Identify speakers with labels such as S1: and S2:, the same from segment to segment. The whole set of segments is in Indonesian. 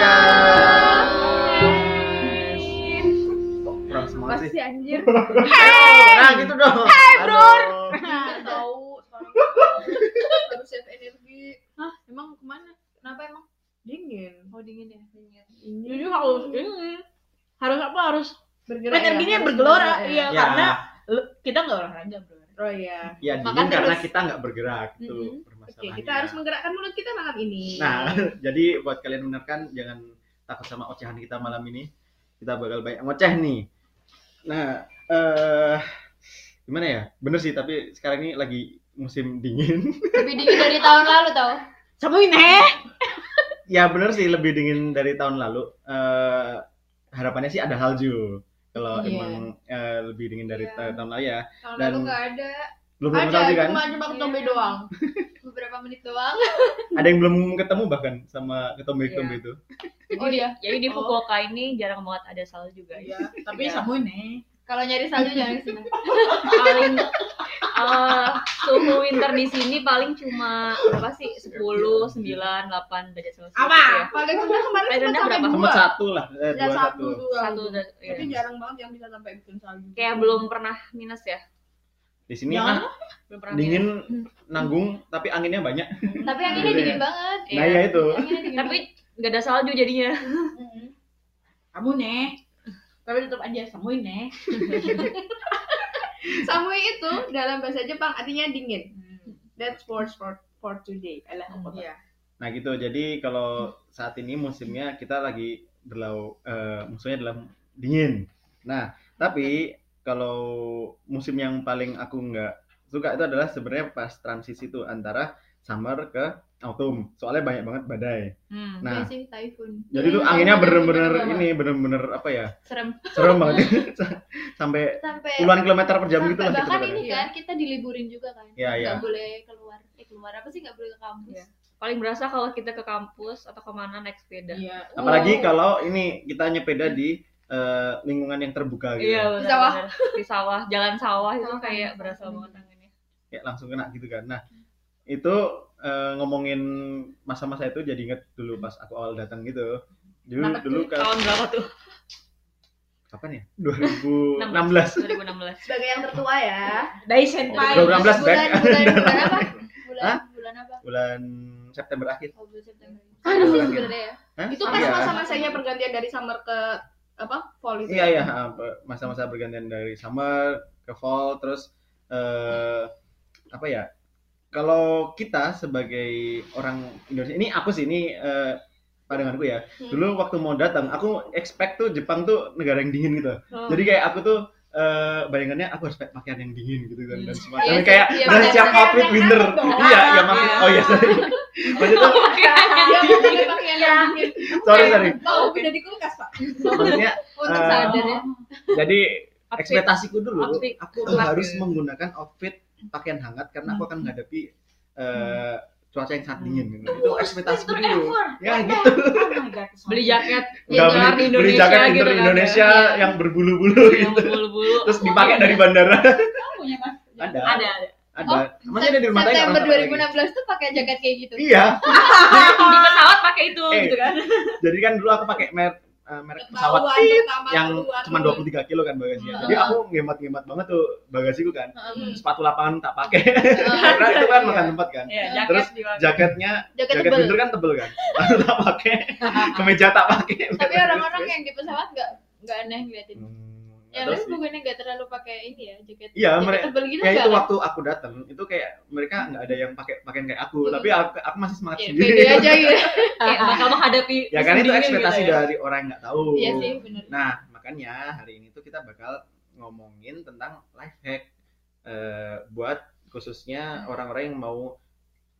S1: Nah,
S2: Nah, gitu
S1: bergerak
S3: Pengen
S1: ya,
S3: gini
S1: harus
S3: bergelora
S1: bergerak
S3: ya,
S2: Ya.
S3: karena lu- kita nggak olahraga bro
S1: Oh iya.
S2: ya dingin
S3: Makan
S2: karena
S3: terus.
S2: kita nggak bergerak tuh
S1: Mm-mm. Oke,
S2: permasalahannya
S1: kita harus menggerakkan mulut kita malam ini.
S2: nah jadi buat kalian benarkan jangan takut sama ocehan kita malam ini kita bakal banyak ngoceh nih nah eh gimana ya bener sih tapi sekarang ini lagi musim dingin
S4: Lebih dingin dari tahun lalu tau.
S3: Sambungin heh
S2: ya bener sih lebih dingin dari tahun lalu eh harapannya sih ada halju kalau
S3: Iya.
S2: emang eh, lebih dingin dari
S4: Iya.
S2: ta- tahun lalu ya
S4: Tahun
S2: Dan-
S4: lalu nggak ada.
S2: belum belum
S3: ada
S2: kan
S3: cuma cuma ketombe
S4: Iya.
S3: doang
S4: Beberapa menit doang.
S2: ada yang belum ketemu bahkan sama ketombe ketombe itu
S4: Oh iya.
S5: Jadi di
S3: Oh.
S5: Fukuoka ini jarang banget ada salju guys.
S3: Iya, tapi
S5: Iya.
S3: sambungin heh
S4: Kalau nyari salju jangan kesini.
S5: Paling eh, suhu winter di sini paling cuma berapa sih? 10, 9, 8 derajat celcius.
S3: Apa?
S5: gitu ya.
S1: Paling rendah kemarin sempat
S5: Paling rendah
S1: sampai
S5: berapa?
S2: Sempat satu lah eh, dua
S1: dua, satu,
S2: satu
S1: dua.
S5: Satu dan
S1: Tapi
S5: ya.
S1: jarang banget yang bisa sampai bikin salju.
S5: kayak belum pernah minus ya.
S2: di sini
S3: Jangan.
S2: kan
S5: Belum pernah minus.
S2: dingin nanggung tapi anginnya banyak
S4: Tapi yang ini
S2: Iya.
S4: dingin banget.
S5: Iya.
S2: nah ya itu
S4: Yang ini dingin.
S5: Tapi nggak ada salju jadinya.
S4: Mm-mm.
S3: kamu nih tapi tetap aja sambungin heh
S1: Samui itu dalam bahasa Jepang artinya dingin. That's for for for today. Eh, Alah, aku potong.
S3: Mm. iya
S2: nah gitu jadi kalau saat ini musimnya kita lagi berlau eh, musuhnya dalam dingin nah tapi kalau musim yang paling aku nggak suka itu adalah sebenarnya pas transisi itu antara summer ke autumn soalnya banyak banget badai
S5: Hmm.
S4: Iya
S2: nah
S4: sih, typhoon.
S2: jadi tuh anginnya bener-bener ini bener-bener apa ya
S5: Serem.
S2: serem banget sampai
S4: Sampai
S2: puluhan kilometer per jam gitu
S4: sampai
S2: lah
S4: bahkan
S2: sebenarnya.
S4: ini kan kita diliburin juga kan.
S2: Iya,
S4: Nggak
S2: iya.
S4: boleh keluar. Eh keluar apa sih nggak boleh ke kampus.
S5: Iya. Paling berasa kalau kita ke kampus atau kemana naik sepeda.
S3: iya
S4: Oh.
S2: apalagi kalau ini kita nyepeda di eh, lingkungan yang terbuka gitu
S4: Di
S5: Iya, benar,
S4: sawah.
S5: benar. Di sawah, jalan sawah itu
S4: Sawah kan,
S5: kayak
S4: sawah.
S5: berasa banget tangannya.
S2: kayak langsung kena gitu kan nah itu eh, ngomongin masa-masa itu jadi inget dulu pas aku awal datang gitu dulu
S3: Kenapa
S2: dulu kan
S5: Tahun berapa tuh?
S2: kapan ya 2016
S5: 2016.
S1: Oh, Sebagai yang tertua ya.
S3: dai senpai
S2: Udah 16, Beb.
S4: bulan, bulan, bulan apa? Bulan,
S2: Hah?
S4: bulan apa?
S2: bulan September akhir
S4: Oh, bulan September.
S2: Aduh.
S4: Sekarang sih sebenarnya ya.
S2: Hah?
S1: Itu pas
S2: Iya.
S1: masa-masanya pergantian dari summer ke apa? Fall itu.
S2: iya iya ha, masa-masa bergantian dari summer ke fall terus eh, apa ya kalau kita sebagai orang Indonesia ini aku sih ini eh, pandanganku ya
S1: Hmm.
S2: dulu waktu mau datang aku expect tuh Jepang tuh negara yang dingin gitu jadi kayak aku tuh eh, bayangannya aku harus pakai pakaian yang dingin gitu kan dan semacam
S4: Iya sih,
S2: kayak
S4: iya
S2: udah
S4: benar.
S2: siap
S1: Pakaian
S2: outfit
S1: yang
S2: winter
S1: hangat dong.
S2: iya iya maksud
S5: Iya.
S2: oh iya sorry maksud tuh
S1: Dia mau Iya, pakai pakaian
S3: Iya.
S1: yang dingin.
S2: sorry sorry
S1: Mau pindah di kulkas, Pak.
S2: maksudnya
S4: Untuk
S2: Eh,
S4: sadar ya.
S2: jadi
S5: Outfit.
S2: ekspektasiku dulu
S5: Outfit. Hmm.
S2: aku
S5: Telat
S2: harus
S5: gitu.
S2: menggunakan outfit pakaian hangat karena aku akan menghadapi eh,
S5: Hmm.
S2: cuaca yang sangat dingin gitu.
S5: Oh,
S2: itu ekspektasiku dulu ya gitu
S3: Oh
S5: Beli jaket
S4: Iya,
S2: Udah
S5: dolar di
S2: beli, beli jaket
S5: Indonesia gitu
S2: inter
S5: kan, Iya.
S2: Indonesia
S4: ya.
S2: yang berbulu-bulu
S5: yang
S2: gitu
S5: berbulu-bulu.
S2: terus dipakai dari bandara
S3: punya mas
S2: ada
S5: Ada, Oh, ada.
S2: ada masih ada di rumah tanya
S4: September
S2: orang-orang kayak gitu.
S4: 2016 tuh pakai jaket kayak gitu.
S2: iya
S5: Di pesawat pakai itu
S2: Eh.
S5: gitu kan.
S2: jadi kan dulu aku pakai merek eh, merek pesawat
S1: Bawaan pertama
S2: yang
S1: keluar.
S2: cuma 23 kilo kan bagasinya.
S5: Hmm.
S2: Jadi aku ngemat-ngemat banget tuh bagasiku kan.
S4: Hmm.
S2: Sepatu lapangan tak pakai. Karena itu kan makan tempat kan.
S5: Iya,
S2: Terus
S5: jaket juga.
S2: Jaketnya
S4: Jaket
S2: jaket
S4: tebel.
S2: winter kan tebel kan. Lalu tak pakai. Kemeja tak pakai.
S4: Tapi orang-orang yang di pesawat nggak nggak aneh ngeliatin.
S2: Hmm,
S4: Ya
S2: nggak tahu
S4: lu
S2: sih.
S4: bukannya nggak terlalu pakai ini ya jaket.
S2: Iya,
S4: jaket
S2: mereka-
S4: tebel gitu
S2: Ya itu
S4: nggak?
S2: waktu aku datang itu kayak mereka nggak ada yang pakai pakaian kayak aku,
S4: Hmm.
S2: tapi aku, aku masih semangat
S4: Ya,
S2: sendiri.
S4: pede aja gitu.
S5: Kayak bakal menghadapi
S2: Ya kan itu
S5: musim dingin
S2: ekspektasi
S5: gitu ya.
S2: dari orang yang nggak tahu.
S4: Iya sih benar.
S2: Nah, makanya hari ini tuh kita bakal ngomongin tentang life hack eh, buat khususnya
S4: Hmm.
S2: orang-orang yang mau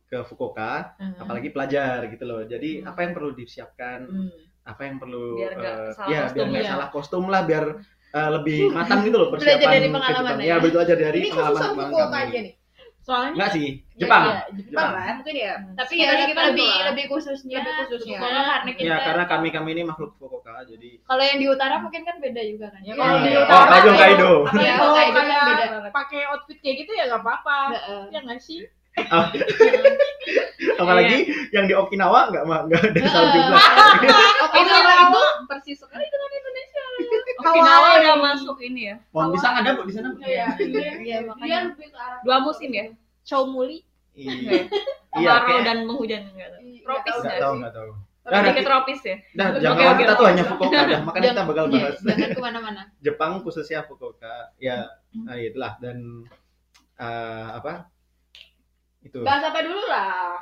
S2: ke Fukuoka, apalagi pelajar gitu loh. Jadi
S5: Hmm.
S2: apa yang perlu disiapkan,
S3: Hmm.
S2: apa yang perlu
S5: Biar nggak
S2: eh,
S5: salah
S2: ya
S5: kostum
S2: biar nggak
S3: ya.
S2: salah kostum lah, biar eh, lebih matang gitu loh
S4: Belajar
S2: persiapan.
S4: dari
S2: ke
S4: pengalaman
S2: Jepang.
S4: ya.
S2: ya. belajar dari
S1: Ini khusus
S2: pengalaman
S1: sama
S2: pengalaman
S1: Fukuoka aja
S2: kamu.
S1: nih.
S3: soalnya
S2: Enggak sih, Jepang.
S3: Iya,
S1: Jepang
S2: Jepang.
S1: lah, mungkin ya.
S4: Tapi
S1: Sebenarnya
S4: ya lebih
S1: kita
S4: lebih,
S1: doang.
S4: lebih khususnya.
S1: Lebih khususnya.
S4: Fukuoka karena kita.
S2: Ya karena kami kami ini makhluk Fukuoka, jadi
S4: Kalau yang di utara mungkin kan beda juga kan.
S3: Ya,
S4: Iya.
S3: kalau
S2: Iya.
S3: di
S2: Oh,
S3: utara
S2: Kaido,
S3: ya,
S2: Kaido.
S3: apalagi
S4: Iya,
S3: kalau
S4: Kaido kan
S3: kayak
S4: beda.
S3: pakai outfit kayak gitu ya nggak apa-apa
S4: Heeh.
S3: ya nggak sih
S2: apalagi yang di Okinawa nggak ma- nggak ada salju
S4: Iya.
S2: blast.
S1: Itu itu
S3: Iya,
S1: persis sekali dengan Indonesia.
S5: Okinawa udah masuk ini ya.
S2: Pohon pisang ada bu di sana? Bu?
S1: Iya.
S4: Iya,
S1: Dia
S4: makanya
S1: lebih ke arah
S5: Dua musim ya. Chomuli,
S2: Iya. Iya.
S5: kemarau
S2: kayak-
S5: dan menghujan enggak tahu.
S1: Iya,
S5: Tropis
S2: Nggak tahu
S5: nggak sih?
S2: nggak tahu. Nah,
S5: Lebih ke
S2: nanti-
S5: tropis ya.
S2: Nah,
S5: Oke,
S2: jangan
S5: oke,
S2: kita
S5: oke.
S2: tuh hanya Fukuoka dah, makanya kita
S4: Jangan-
S2: bakal
S4: iya,
S2: bahas
S4: Jangan kemana-mana.
S2: Jepang khususnya Fukuoka. Ya,
S5: Hmm.
S2: nah, itulah dan eh, apa? Itu.
S3: Bahas apa dulu lah?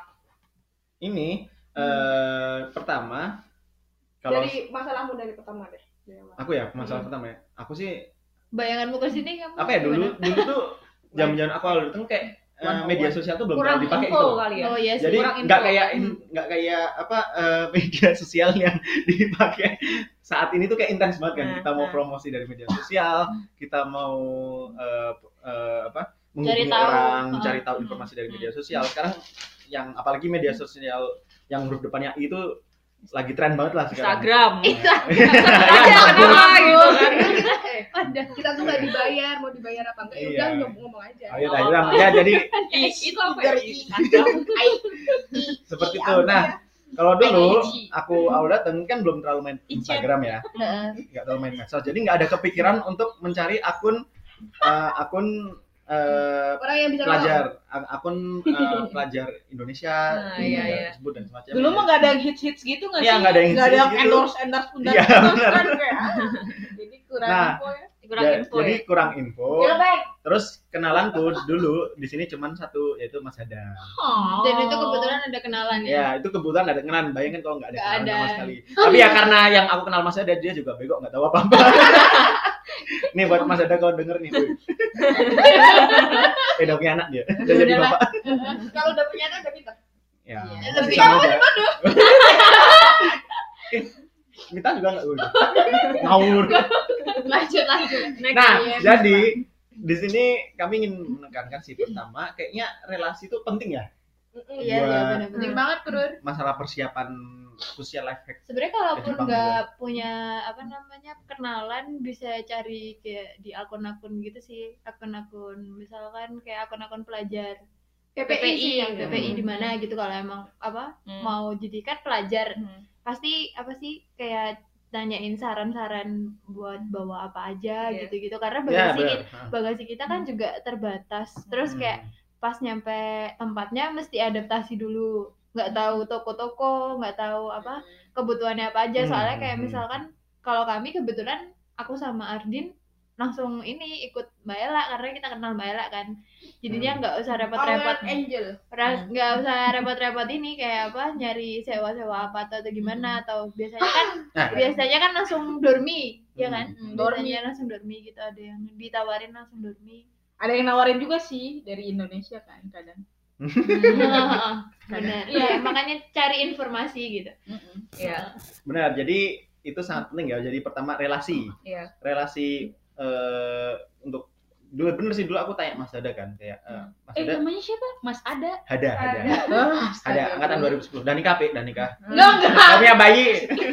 S2: Ini
S5: Hmm.
S2: eh pertama kalau
S3: Dari masalahmu dari pertama deh. Iya, Dari awal.
S2: aku ya
S5: Hmm.
S2: masalah pertama ya. Aku sih
S4: Bayanganmu ke sini kamu.
S2: apa ya dulu dulu tuh zaman-zaman aku awal dateng kayak eh,
S5: One on
S2: media
S5: one.
S2: sosial tuh belum
S5: Kurang
S2: terlalu dipakai
S5: info
S2: gitu.
S5: kali ya.
S4: Oh iya sih.
S2: Jadi
S5: kurang info.
S2: nggak kayak in- nggak kayak apa eh, media sosial yang dipakai saat ini tuh kayak intens banget kan.
S5: Nah,
S2: Kita mau
S5: nah.
S2: promosi dari media sosial, kita mau eh, eh, apa
S4: Cari
S2: menghubungi
S4: tahu.
S2: orang,
S4: Heeh.
S2: cari tahu informasi dari media sosial. Sekarang yang apalagi media sosial yang huruf depannya I itu lagi tren banget lah sekarang.
S5: Instagram.
S2: Iya, Ya,
S5: Kenapa gitu kan?
S4: Ada.
S3: iya. Kita tuh nggak dibayar, mau dibayar apa enggak? Ya
S2: Iya.
S3: udah ngom- ngomong aja.
S2: Oh, ya, dah, bilang. ya jadi
S5: Ih, itu apa ya?
S3: Dari-
S5: Instagram.
S2: seperti
S5: Iya,
S2: itu. Nah, kalau dulu
S4: Iji.
S2: aku
S5: Mm-hmm.
S2: awal dateng kan belum terlalu main Instagram ya, nggak terlalu main medsos. Jadi nggak ada kepikiran untuk mencari akun eh, akun eh,
S3: Orang yang bisa
S2: pelajar, A- akun eh, pelajar Indonesia
S5: Ah,
S2: ini
S5: iya,
S2: nggak
S5: iya.
S2: disebut dan semacamnya.
S3: Dulu mah nggak ada yang hits-hits gitu nggak sih?
S2: Iya, nggak ada yang
S3: Nggak ada yang
S2: hits-hits gitu.
S3: endorse endorse undang
S2: Iya,
S3: endorse
S2: benar.
S3: kan kayak. ah. Jadi kurang
S2: Nah.
S3: info ya.
S5: Kurang
S2: Ja-
S5: info
S2: jadi
S5: ya.
S2: kurang info.
S3: Ya baik.
S2: Terus kenalanku dulu di sini cuman satu yaitu Mas Hadam.
S4: Dan itu kebetulan ada kenalan ya.
S2: Ya, itu kebetulan ada kenalan. Bayangkan kalau nggak ada
S4: Nggak
S2: kenalan
S4: ada. Oh, iya.
S2: sama sekali. Tapi ya karena yang aku kenal Mas Ada dia juga bego nggak tahu apa-apa. nih buat Mas Ada kalau denger nih. Boy. eh udah punya anak dia. Udah jadi
S4: Udah lah.
S2: bapak.
S3: Kalau udah punya anak udah pinter.
S2: Ya.
S4: Ya, lebih
S2: sama aja. Eh, Mita juga nggak udah. Ngawur.
S4: Lanjut lanjut.
S5: Next.
S2: Nah,
S4: Iya,
S2: jadi di sini kami ingin menekankan sih pertama kayaknya relasi itu penting ya
S4: Iya iya
S2: Buat-
S4: benar-benar.
S3: Penting banget kurun.
S2: masalah persiapan usia life hack
S4: Sebenarnya kalaupun
S2: Jepang
S4: nggak punya apa namanya kenalan bisa cari kayak di akun-akun gitu sih akun-akun misalkan kayak akun-akun pelajar
S3: PPI
S4: PPI
S3: sih yang
S4: PPI
S2: Hmm.
S4: di mana gitu kalau emang apa
S5: Hmm.
S4: mau jadi kan pelajar
S5: Hmm.
S4: pasti apa sih kayak nanyain saran-saran buat bawa apa aja
S5: Iya.
S4: gitu-gitu karena
S2: ya
S4: bagasi
S2: Hmm. benar
S4: kita, bagasi kita kan juga terbatas terus kayak pas nyampe tempatnya mesti adaptasi dulu nggak tahu toko-toko nggak tahu apa kebutuhannya apa aja
S2: Hmm,
S4: soalnya kayak
S2: hmm,
S4: misalkan kalau kami kebetulan aku sama Ardin langsung ini ikut Mbak Ella karena kita kenal Mbak Ella kan jadinya
S2: Hmm.
S4: nggak usah repot-repot
S3: Orang angel.
S4: Ra- nggak usah repot-repot ini kayak apa nyari sewa-sewa apa atau, atau gimana atau biasanya kan
S2: Nah.
S4: biasanya kan langsung dormi ya kan
S5: Hmm,
S3: dormi.
S4: biasanya langsung dormi gitu ada yang ditawarin langsung dormi
S3: Ada yang nawarin juga sih dari Indonesia kan kadang.
S4: benar ya makanya cari informasi gitu
S5: Iya,
S2: Benar, jadi itu sangat penting ya. Jadi pertama relasi,
S5: iya.
S2: relasi eh untuk dulu bener sih dulu aku tanya Mas Dada kan kayak eh, Mas Dada
S3: namanya siapa? Mas Ada.
S2: ada ada ada angkatan 2010 dan nikah Pik, dan nikah.
S3: Enggak enggak.
S2: Kami bayi.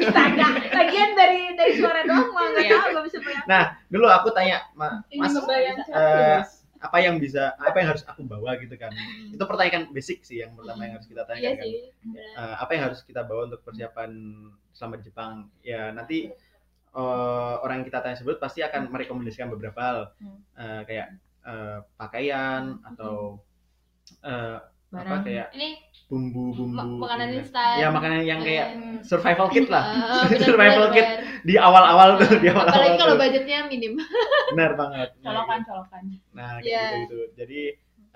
S3: Astaga. Lagian dari dari suara doang mah enggak
S5: Iya.
S3: tahu enggak bisa bayangin.
S2: Dulu aku tanya "Ma,
S3: Ini ya,
S2: Mas
S3: ngebayangkan
S2: eh, apa yang bisa apa yang harus aku bawa gitu kan. Itu pertanyaan basic sih yang pertama yang harus kita
S4: iya
S2: tanyakan kan.
S4: sih
S2: Eh, apa yang harus kita bawa untuk persiapan selama di Jepang ya nanti eh, orang yang kita tanya sebut pasti akan merekomendasikan beberapa hal
S5: Hmm.
S2: Eh, kayak eh, pakaian atau eh, apa
S5: Barang.
S2: kayak
S4: ini ma-
S2: bumbu-bumbu
S4: makanan
S2: gitu.
S4: instan
S2: ya makanan yang kayak
S4: Eh,
S2: survival kit lah
S4: eh, benar,
S2: Survival
S4: benar,
S2: kit. Oh,
S4: benar.
S2: di awal-awal tuh di
S4: apalagi
S2: awal-awal
S4: kalau
S2: tuh.
S4: budgetnya minim
S2: benar banget Nah,
S3: Colokan colokan.
S2: Nah,
S4: Iya.
S2: gitu, Jadi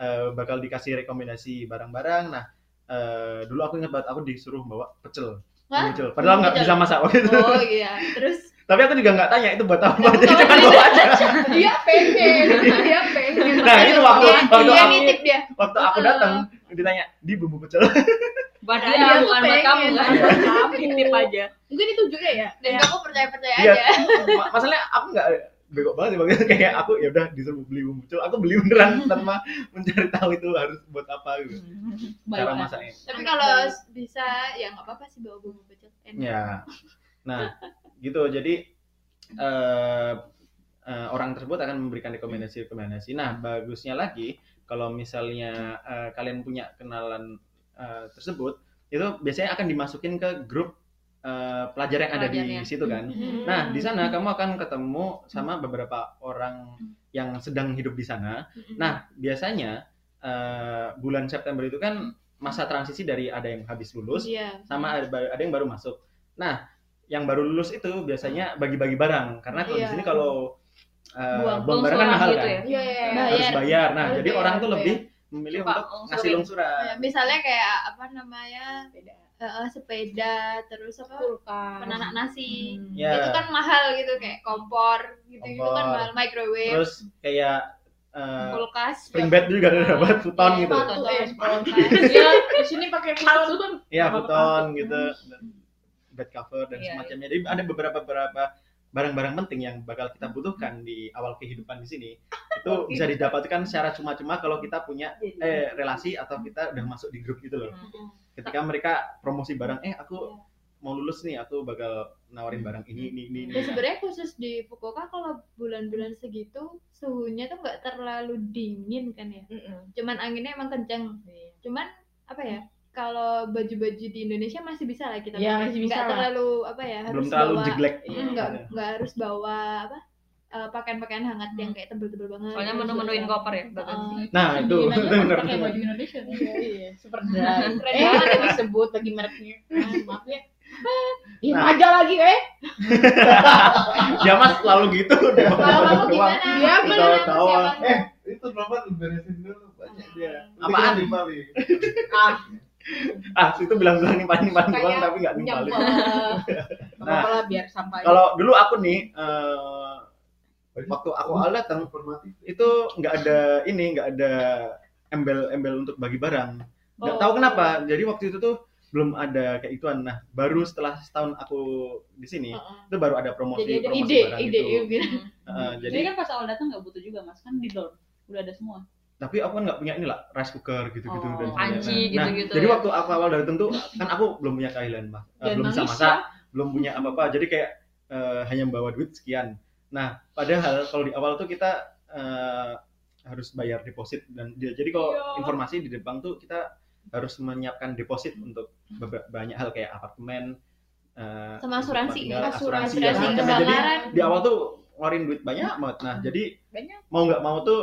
S2: eh, bakal dikasih rekomendasi barang-barang. Nah, eh, dulu aku ingat banget aku disuruh bawa pecel.
S4: Hah?
S2: Pecel. Padahal nggak
S4: Pecel.
S2: bisa masak waktu itu.
S4: oh iya terus
S2: Tapi aku juga nggak tanya itu buat apa.
S4: Kamu
S2: Jadi
S4: tahu
S2: cuman
S4: sendiri.
S2: bawa aja.
S3: Dia pengen, dia pengen.
S2: Nah, itu waktu
S4: Iya,
S2: waktu
S4: iya
S2: aku,
S4: nitip dia
S2: waktu aku datang ditanya di bumbu pecel.
S5: Buat
S3: Iya,
S5: dia, bukan
S3: aku
S5: buat
S3: pengen.
S5: kamu kan.
S3: Buat kamu.
S5: Titip aja.
S3: Mungkin itu juga ya.
S4: dan
S3: Ya.
S4: kamu percaya percaya
S2: Iya.
S4: aja
S2: Ma- Masalahnya aku nggak bego banget sih waktu itu. kayak aku ya udah disuruh beli bumbu pecel aku beli beneran tanpa mencari tahu itu harus buat apa gitu cara
S3: Bayangkan.
S2: masaknya
S4: tapi kalau bisa ya nggak apa-apa sih bawa bumbu pecel enak
S2: Ya. Nah, gitu. Jadi eh eh, orang tersebut akan memberikan rekomendasi-rekomendasi. Nah, bagusnya lagi kalau misalnya eh, kalian punya kenalan eh, tersebut, itu biasanya akan dimasukin ke grup eh, pelajar yang ada
S5: Pelajar, ya.
S2: di situ kan.
S4: Hmm.
S2: Nah, di sana kamu akan ketemu sama beberapa orang yang sedang hidup di sana. Nah, biasanya eh, bulan September itu kan masa transisi dari ada yang habis lulus
S4: Iya.
S2: sama ada, ada yang baru masuk. Nah, yang baru lulus itu biasanya bagi-bagi barang karena kalau di
S4: Hmm. Iya.
S2: sini kalau eh,
S4: Buang
S2: buang barang kan
S5: longsoran
S2: mahal
S5: gitu
S2: kan.
S5: ya.
S1: Iya, iya.
S4: Bayar.
S2: Harus bayar. Nah,
S4: Harus
S2: jadi
S4: bayar, gitu ya.
S2: orang tuh
S4: bayar.
S2: lebih memilih
S5: Suka
S2: untuk ngasih
S5: longsurin.
S2: longsuran.
S4: Ya, misalnya kayak apa namanya eh, eh, sepeda terus apa
S3: Kulkas.
S4: penanak nasi
S2: Ya.
S4: itu kan mahal gitu kayak kompor gitu gitu kan
S2: Kompor.
S4: mahal microwave
S2: Terus kayak eh,
S4: kulkas ya.
S2: spring bed juga ada dapat futon
S4: Iya,
S2: gitu.
S4: futon.
S3: Eh,
S1: Iya, di sini pakai kaldu tuh.
S2: Iya,
S3: Apa-apa.
S2: futon gitu. Dan bed cover dan
S5: Iya,
S2: semacamnya. Jadi ada beberapa beberapa barang-barang penting yang bakal kita butuhkan di awal kehidupan di sini itu bisa didapatkan secara cuma-cuma kalau kita punya eh relasi atau kita udah masuk di grup gitu loh. Ketika mereka promosi barang, eh aku mau lulus nih, aku bakal nawarin barang ini ini ini. ini.
S4: Ya sebenarnya khusus di Fukuoka kalau bulan-bulan segitu suhunya tuh nggak terlalu dingin kan ya. Cuman anginnya emang kenceng.
S3: Iya.
S4: Cuman apa ya? Kalau baju-baju di Indonesia masih bisa lah kita
S3: Ya,
S4: pakai.
S3: masih bisa
S4: Nggak
S3: lah. Iya.
S4: terlalu apa ya?
S2: Belum
S4: harus
S2: terlalu
S4: bawa-
S2: jeglek.
S4: Mm, nggak nggak harus bawa apa? eh, pakaian-pakaian hangat yang
S3: Mm.
S4: kayak tebel-tebel banget.
S5: Soalnya
S4: Terus
S5: menu-menuin
S4: bawa-
S5: koper ya, bagasi.
S3: Heeh.
S6: Iya,
S2: Nah, itu
S3: Bikin aja
S2: itu benar
S3: Iya, pakai
S2: benar.
S3: baju Indonesia. Iya, seperti
S4: Keren
S3: Eh,
S4: banget.
S3: disebut lagi mereknya. Ah, Maaf ya. Iya,
S2: Nah.
S3: aja lagi, eh.
S2: Ya Mas selalu gitu deh.
S4: Kalau kamu gimana?
S3: Iya,
S4: Gimana
S2: tahu-tahu.
S4: persiapanmu?
S7: Eh, itu berapa lu beresin dulu banyak dia.
S2: Apaan?
S7: Ini kan Bali.
S3: Ah,
S2: Ah, itu bilang-bilang nimpalin-nimpalin
S1: Kayak
S2: doang tapi nggak nimpalin.
S3: nyampel. Apa lah biar sampai.
S2: Nah. Kalau dulu aku nih eh, waktu aku awal datang
S7: Informatif.
S2: itu nggak ada ini, nggak ada embel-embel untuk bagi barang. Nggak tahu
S4: Oh.
S2: kenapa. Jadi waktu itu tuh belum ada kayak ituan. Nah, baru setelah setahun aku di sini
S4: Heeh.
S2: itu baru ada promosi
S3: Jadi ada
S2: ya, promosi
S3: ide,
S2: barang
S3: ide.
S2: gitu.
S3: ide.
S5: Hmm.
S2: Heeh, jadi
S3: Jadi kan pas awal datang nggak butuh juga, Mas. Kan di door udah ada semua.
S2: tapi aku kan nggak punya ini lah rice cooker gitu-gitu dan
S3: Oh,
S2: sebagainya.
S5: panci
S2: nah,
S5: gitu-gitu
S2: jadi
S5: ya.
S2: waktu aku awal datang tuh kan aku belum punya keahlian mas, Eh,
S3: Dan
S2: belum bisa
S3: nangis ya.
S2: masak, belum punya apa-apa. Jadi kayak eh, hanya bawa duit sekian. Nah, padahal kalau di awal tuh kita eh, harus bayar deposit dan dia. Jadi kalau
S3: Iya.
S2: informasi di Jepang tuh kita harus menyiapkan deposit untuk beba- banyak hal kayak apartemen, eh,
S4: Sama asuransi,
S2: tempat tinggal,
S4: asuransi,
S2: asuransi, dan
S4: asuransi
S2: semacamnya. Jadi
S4: kebakaran.
S3: ya.
S2: di awal tuh ngeluarin duit banyak banget. Nah, jadi
S3: Banyak. Iya.
S2: mau nggak mau tuh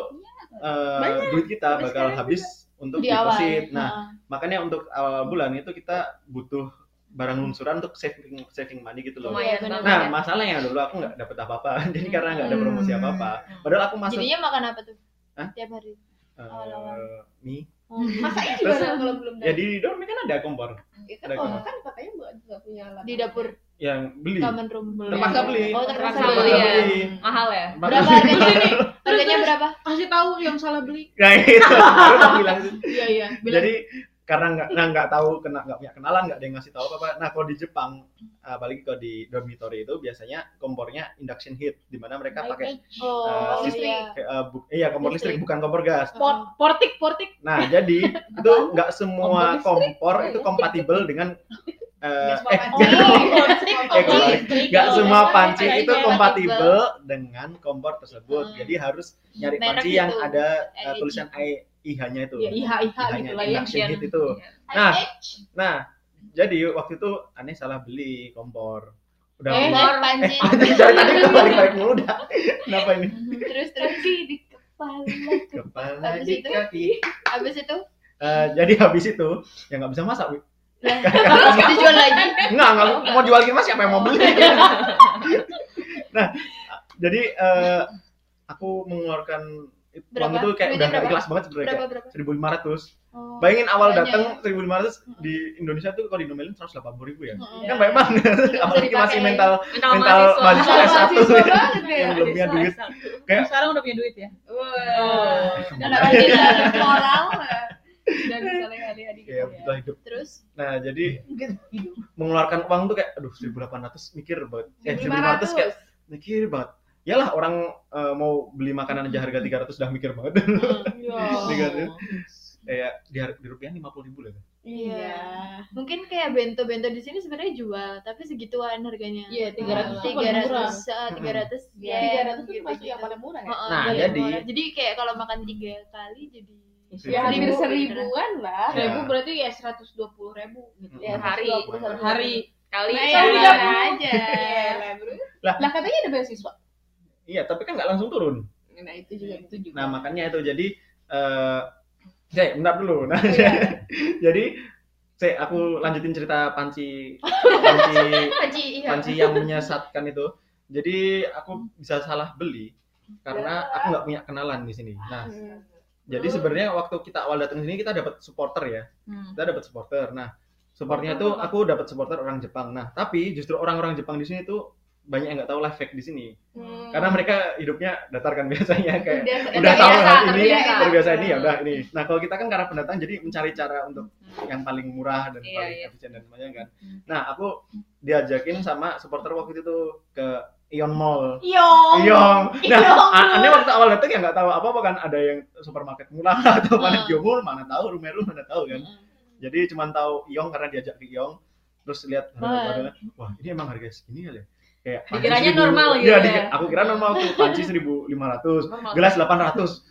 S2: eh, duit kita
S3: Sampai
S2: bakal
S3: sekarang
S2: habis untuk
S4: Di awal.
S2: deposit. Nah,
S4: Heeh.
S2: makanya untuk awal bulan itu kita butuh barang lungsuran untuk saving saving money gitu loh.
S5: Lumayan
S4: Iya,
S5: banget. ya.
S2: Nah, masalahnya dulu aku nggak dapet apa-apa. Jadi karena nggak ada promosi
S4: Hmm.
S2: apa-apa. Padahal aku masuk eh,
S4: Jadinya makan apa tuh?
S2: Hah?
S4: Tiap hari.
S2: eh,
S4: awal-awal.
S2: mie.
S1: Masa ini
S2: Terus-
S1: barang kalau belum
S2: Ya di dorm kan ada kompor
S1: Ya kan
S2: ada
S1: kalau
S2: kamar.
S1: kan katanya buat nggak punya alat.
S4: Di dapur
S2: yang beli.
S4: common room.
S2: Terpaksa beli.
S4: Oh, terpaksa
S5: Terpaksa
S4: beli.
S5: beli ya. Mahal ya?
S2: Empat
S4: Berapa
S2: ratus-
S4: harganya? harganya
S3: terus.
S4: berapa?
S3: Kasih tahu yang salah beli.
S2: Nah, itu baru aku bilang.
S3: Iya, iya. Bilang
S2: Jadi karena nggak nah, nggak tahu kena nggak punya kenalan nggak ada yang ngasih tahu apa apa. Nah kalau di Jepang eh, apalagi kalau di dormitory itu biasanya kompornya induction heat di mana mereka
S3: baik,
S2: pakai
S3: baik.
S2: Eh,
S4: Oh,
S2: listrik.
S4: iya.
S2: Kayak, eh, bu- iya kompor listrik,
S4: Listrik.
S2: bukan kompor gas.
S3: Port- portik, portik.
S2: Nah, jadi itu nggak semua
S3: Kompor
S2: kompor itu kompatibel dengan eh, eh,
S1: Gas papan.
S2: eh,
S1: Oh,
S2: kebalik. nggak
S4: Kalau
S2: semua
S4: kompor
S2: panci
S4: kayak
S2: itu
S4: kompatibel.
S2: kompatibel dengan kompor tersebut.
S4: Hmm.
S2: Jadi harus nyari
S4: Merek
S2: panci
S4: itu.
S2: yang ada eh,
S4: Eh,
S2: tulisan I- IH-nya itu.
S3: Ya,
S6: Iya,
S3: iha, iha gitu lah ya.
S2: induction heat itu.
S5: Iya.
S2: Nah,
S4: Eh,
S2: nah jadi waktu itu aneh salah beli kompor. Udah
S3: Eh,
S2: beli.
S4: kompor, panci.
S2: Tadi tadi kebalik-balik mulu dah. Kenapa ini?
S4: Terus terus di kepala.
S2: Kepala
S4: Habis
S2: di
S4: itu?
S2: kaki.
S4: Abis itu
S2: Eh, jadi habis itu ya nggak bisa masak. Wi.
S4: terus dijual lagi.
S2: Nggak, nggak mau jual gimana siapa yang mau beli? nah, jadi eh, aku mengeluarkan uang
S4: Berapa?
S2: itu kayak
S4: Duitnya
S2: udah nggak
S4: berapa?
S2: ikhlas banget sebenarnya
S4: Berapa berapa?
S2: kayak 1500.
S4: Oh.
S2: Bayangin awal
S4: Banyak
S2: datang 1500 di Indonesia tuh kalau dinomelin 180.000 ya.
S4: Heeh.
S2: Kan banyak banget.
S4: Iya,
S2: Apalagi masih
S4: dipakai.
S2: mental
S5: Mental,
S2: mental mahasiswa
S4: Mental
S2: S1
S4: mahasiswa
S2: ya,
S4: banget ya.
S2: yang belum punya duit. Kayak-
S3: Sekarang udah punya duit ya.
S1: Wah.
S4: Dan apalagi ada moral.
S3: Dan misalnya adik-adik
S2: Iya, Kayak Eh, butuh hidup.
S4: Terus
S2: Nah, jadi
S3: Hidup.
S2: mengeluarkan uang tuh kayak aduh 1800 mikir banget. Eh 1500
S1: 500
S2: kayak mikir banget. Yalah orang eh, mau beli makanan aja harga 300 udah mikir banget.
S3: Iya.
S2: Tiga tuh. Kayak di, har- di rupiah 50 ribu lah. ya.
S4: Iya. mungkin kayak bento-bento di sini sebenarnya jual, tapi segituan harganya.
S3: Iya, 300 tuh
S4: tiga
S3: paling murah.
S4: ratus eh, tiga ratus
S3: Tiga ratus
S4: gitu
S3: itu pasti yang paling murah ya.
S2: Nah, jadi-
S4: jadi kayak kalau makan tiga kali jadi
S3: Ya,
S1: Ya hampir
S3: seribu.
S1: seribuan lah.
S2: Ya.
S3: Seribu berarti ya seratus dua puluh ribu gitu.
S2: Ya,
S5: hari.
S3: Per hari.
S5: Kali
S1: Nah,
S3: Saya
S1: ya,
S3: tidak
S1: ya,
S3: mau.
S1: aja.
S3: Lah katanya ada beasiswa.
S2: Iya, tapi kan nggak langsung turun.
S1: Nah, itu juga itu juga.
S2: Nah, makanya itu jadi eh, Cek, bentar dulu. Nah,
S1: Iya.
S2: jadi Cek, aku lanjutin cerita panci panci
S4: Panci, iya.
S2: panci yang menyesatkan itu. Jadi aku bisa salah beli karena aku nggak punya kenalan di sini. Nah, jadi sebenarnya waktu kita awal datang sini kita dapat supporter ya.
S5: Hmm.
S2: Kita dapat supporter. Nah, supporternya itu aku dapat supporter orang Jepang. Nah, tapi justru orang-orang Jepang di sini tuh banyak yang nggak tahu life hack di sini.
S1: Hmm.
S2: Karena mereka hidupnya datar kan biasanya kayak
S1: udah,
S2: udah tahu
S1: terbiasa,
S2: hal ini
S1: terbiasa.
S2: terbiasa ini ya
S5: Hmm.
S2: udah ini nah kalau kita kan karena pendatang jadi mencari cara untuk yang paling murah dan
S5: Iya,
S2: paling
S5: iya.
S2: efisien dan banyak kan
S5: Hmm.
S2: nah aku diajakin sama supporter waktu itu tuh ke Ion Mall
S3: Yong.
S2: Ion nah
S3: Ion.
S2: a- aneh waktu awal datang ya nggak tahu apa apa kan ada yang supermarket murah atau
S5: Iya.
S2: mana Gio Mall mana tahu Rumeru mana tahu kan jadi cuman tahu Ion karena diajak ke Ion terus lihat harga-harganya, wah ini emang harga segini kali ya kayak panci
S5: Dikiranya
S2: 1000.
S5: normal gitu
S2: Iya,
S5: ya.
S2: dikira- aku kira normal tuh panci 1500
S5: Normal.
S2: gelas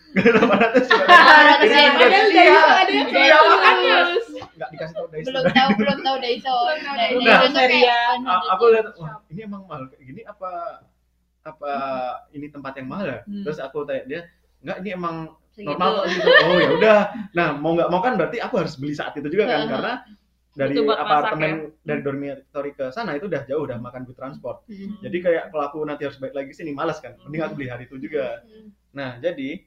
S2: 800 gelas
S4: Ada yang-
S2: 800 Ini ada
S4: ada
S2: iya.
S4: yang- ada yang-
S2: Iya.
S5: ya?
S4: ada yang-
S2: nggak dikasih tau dari
S4: belum
S2: sana.
S4: tahu belum tahu Daiso. Daiso
S2: Belum tahu,
S4: tuh nah,
S3: sorry
S4: kayak- anu gitu.
S2: A- aku lihat wah ini emang mahal kayak gini apa apa ini tempat yang mahal ya
S5: Hmm.
S2: terus aku tanya dia nggak ini emang
S5: Segitu.
S2: normal kok gitu oh ya udah nah mau nggak mau kan berarti aku harus beli saat itu juga kan
S4: Heeh.
S2: karena dari
S5: Itu buat masak
S2: apartemen dari dormitory ke sana itu udah jauh udah makan di transport Jadi kayak kalau aku nanti harus balik lagi sini malas kan. Mending aku beli hari itu juga. Nah, jadi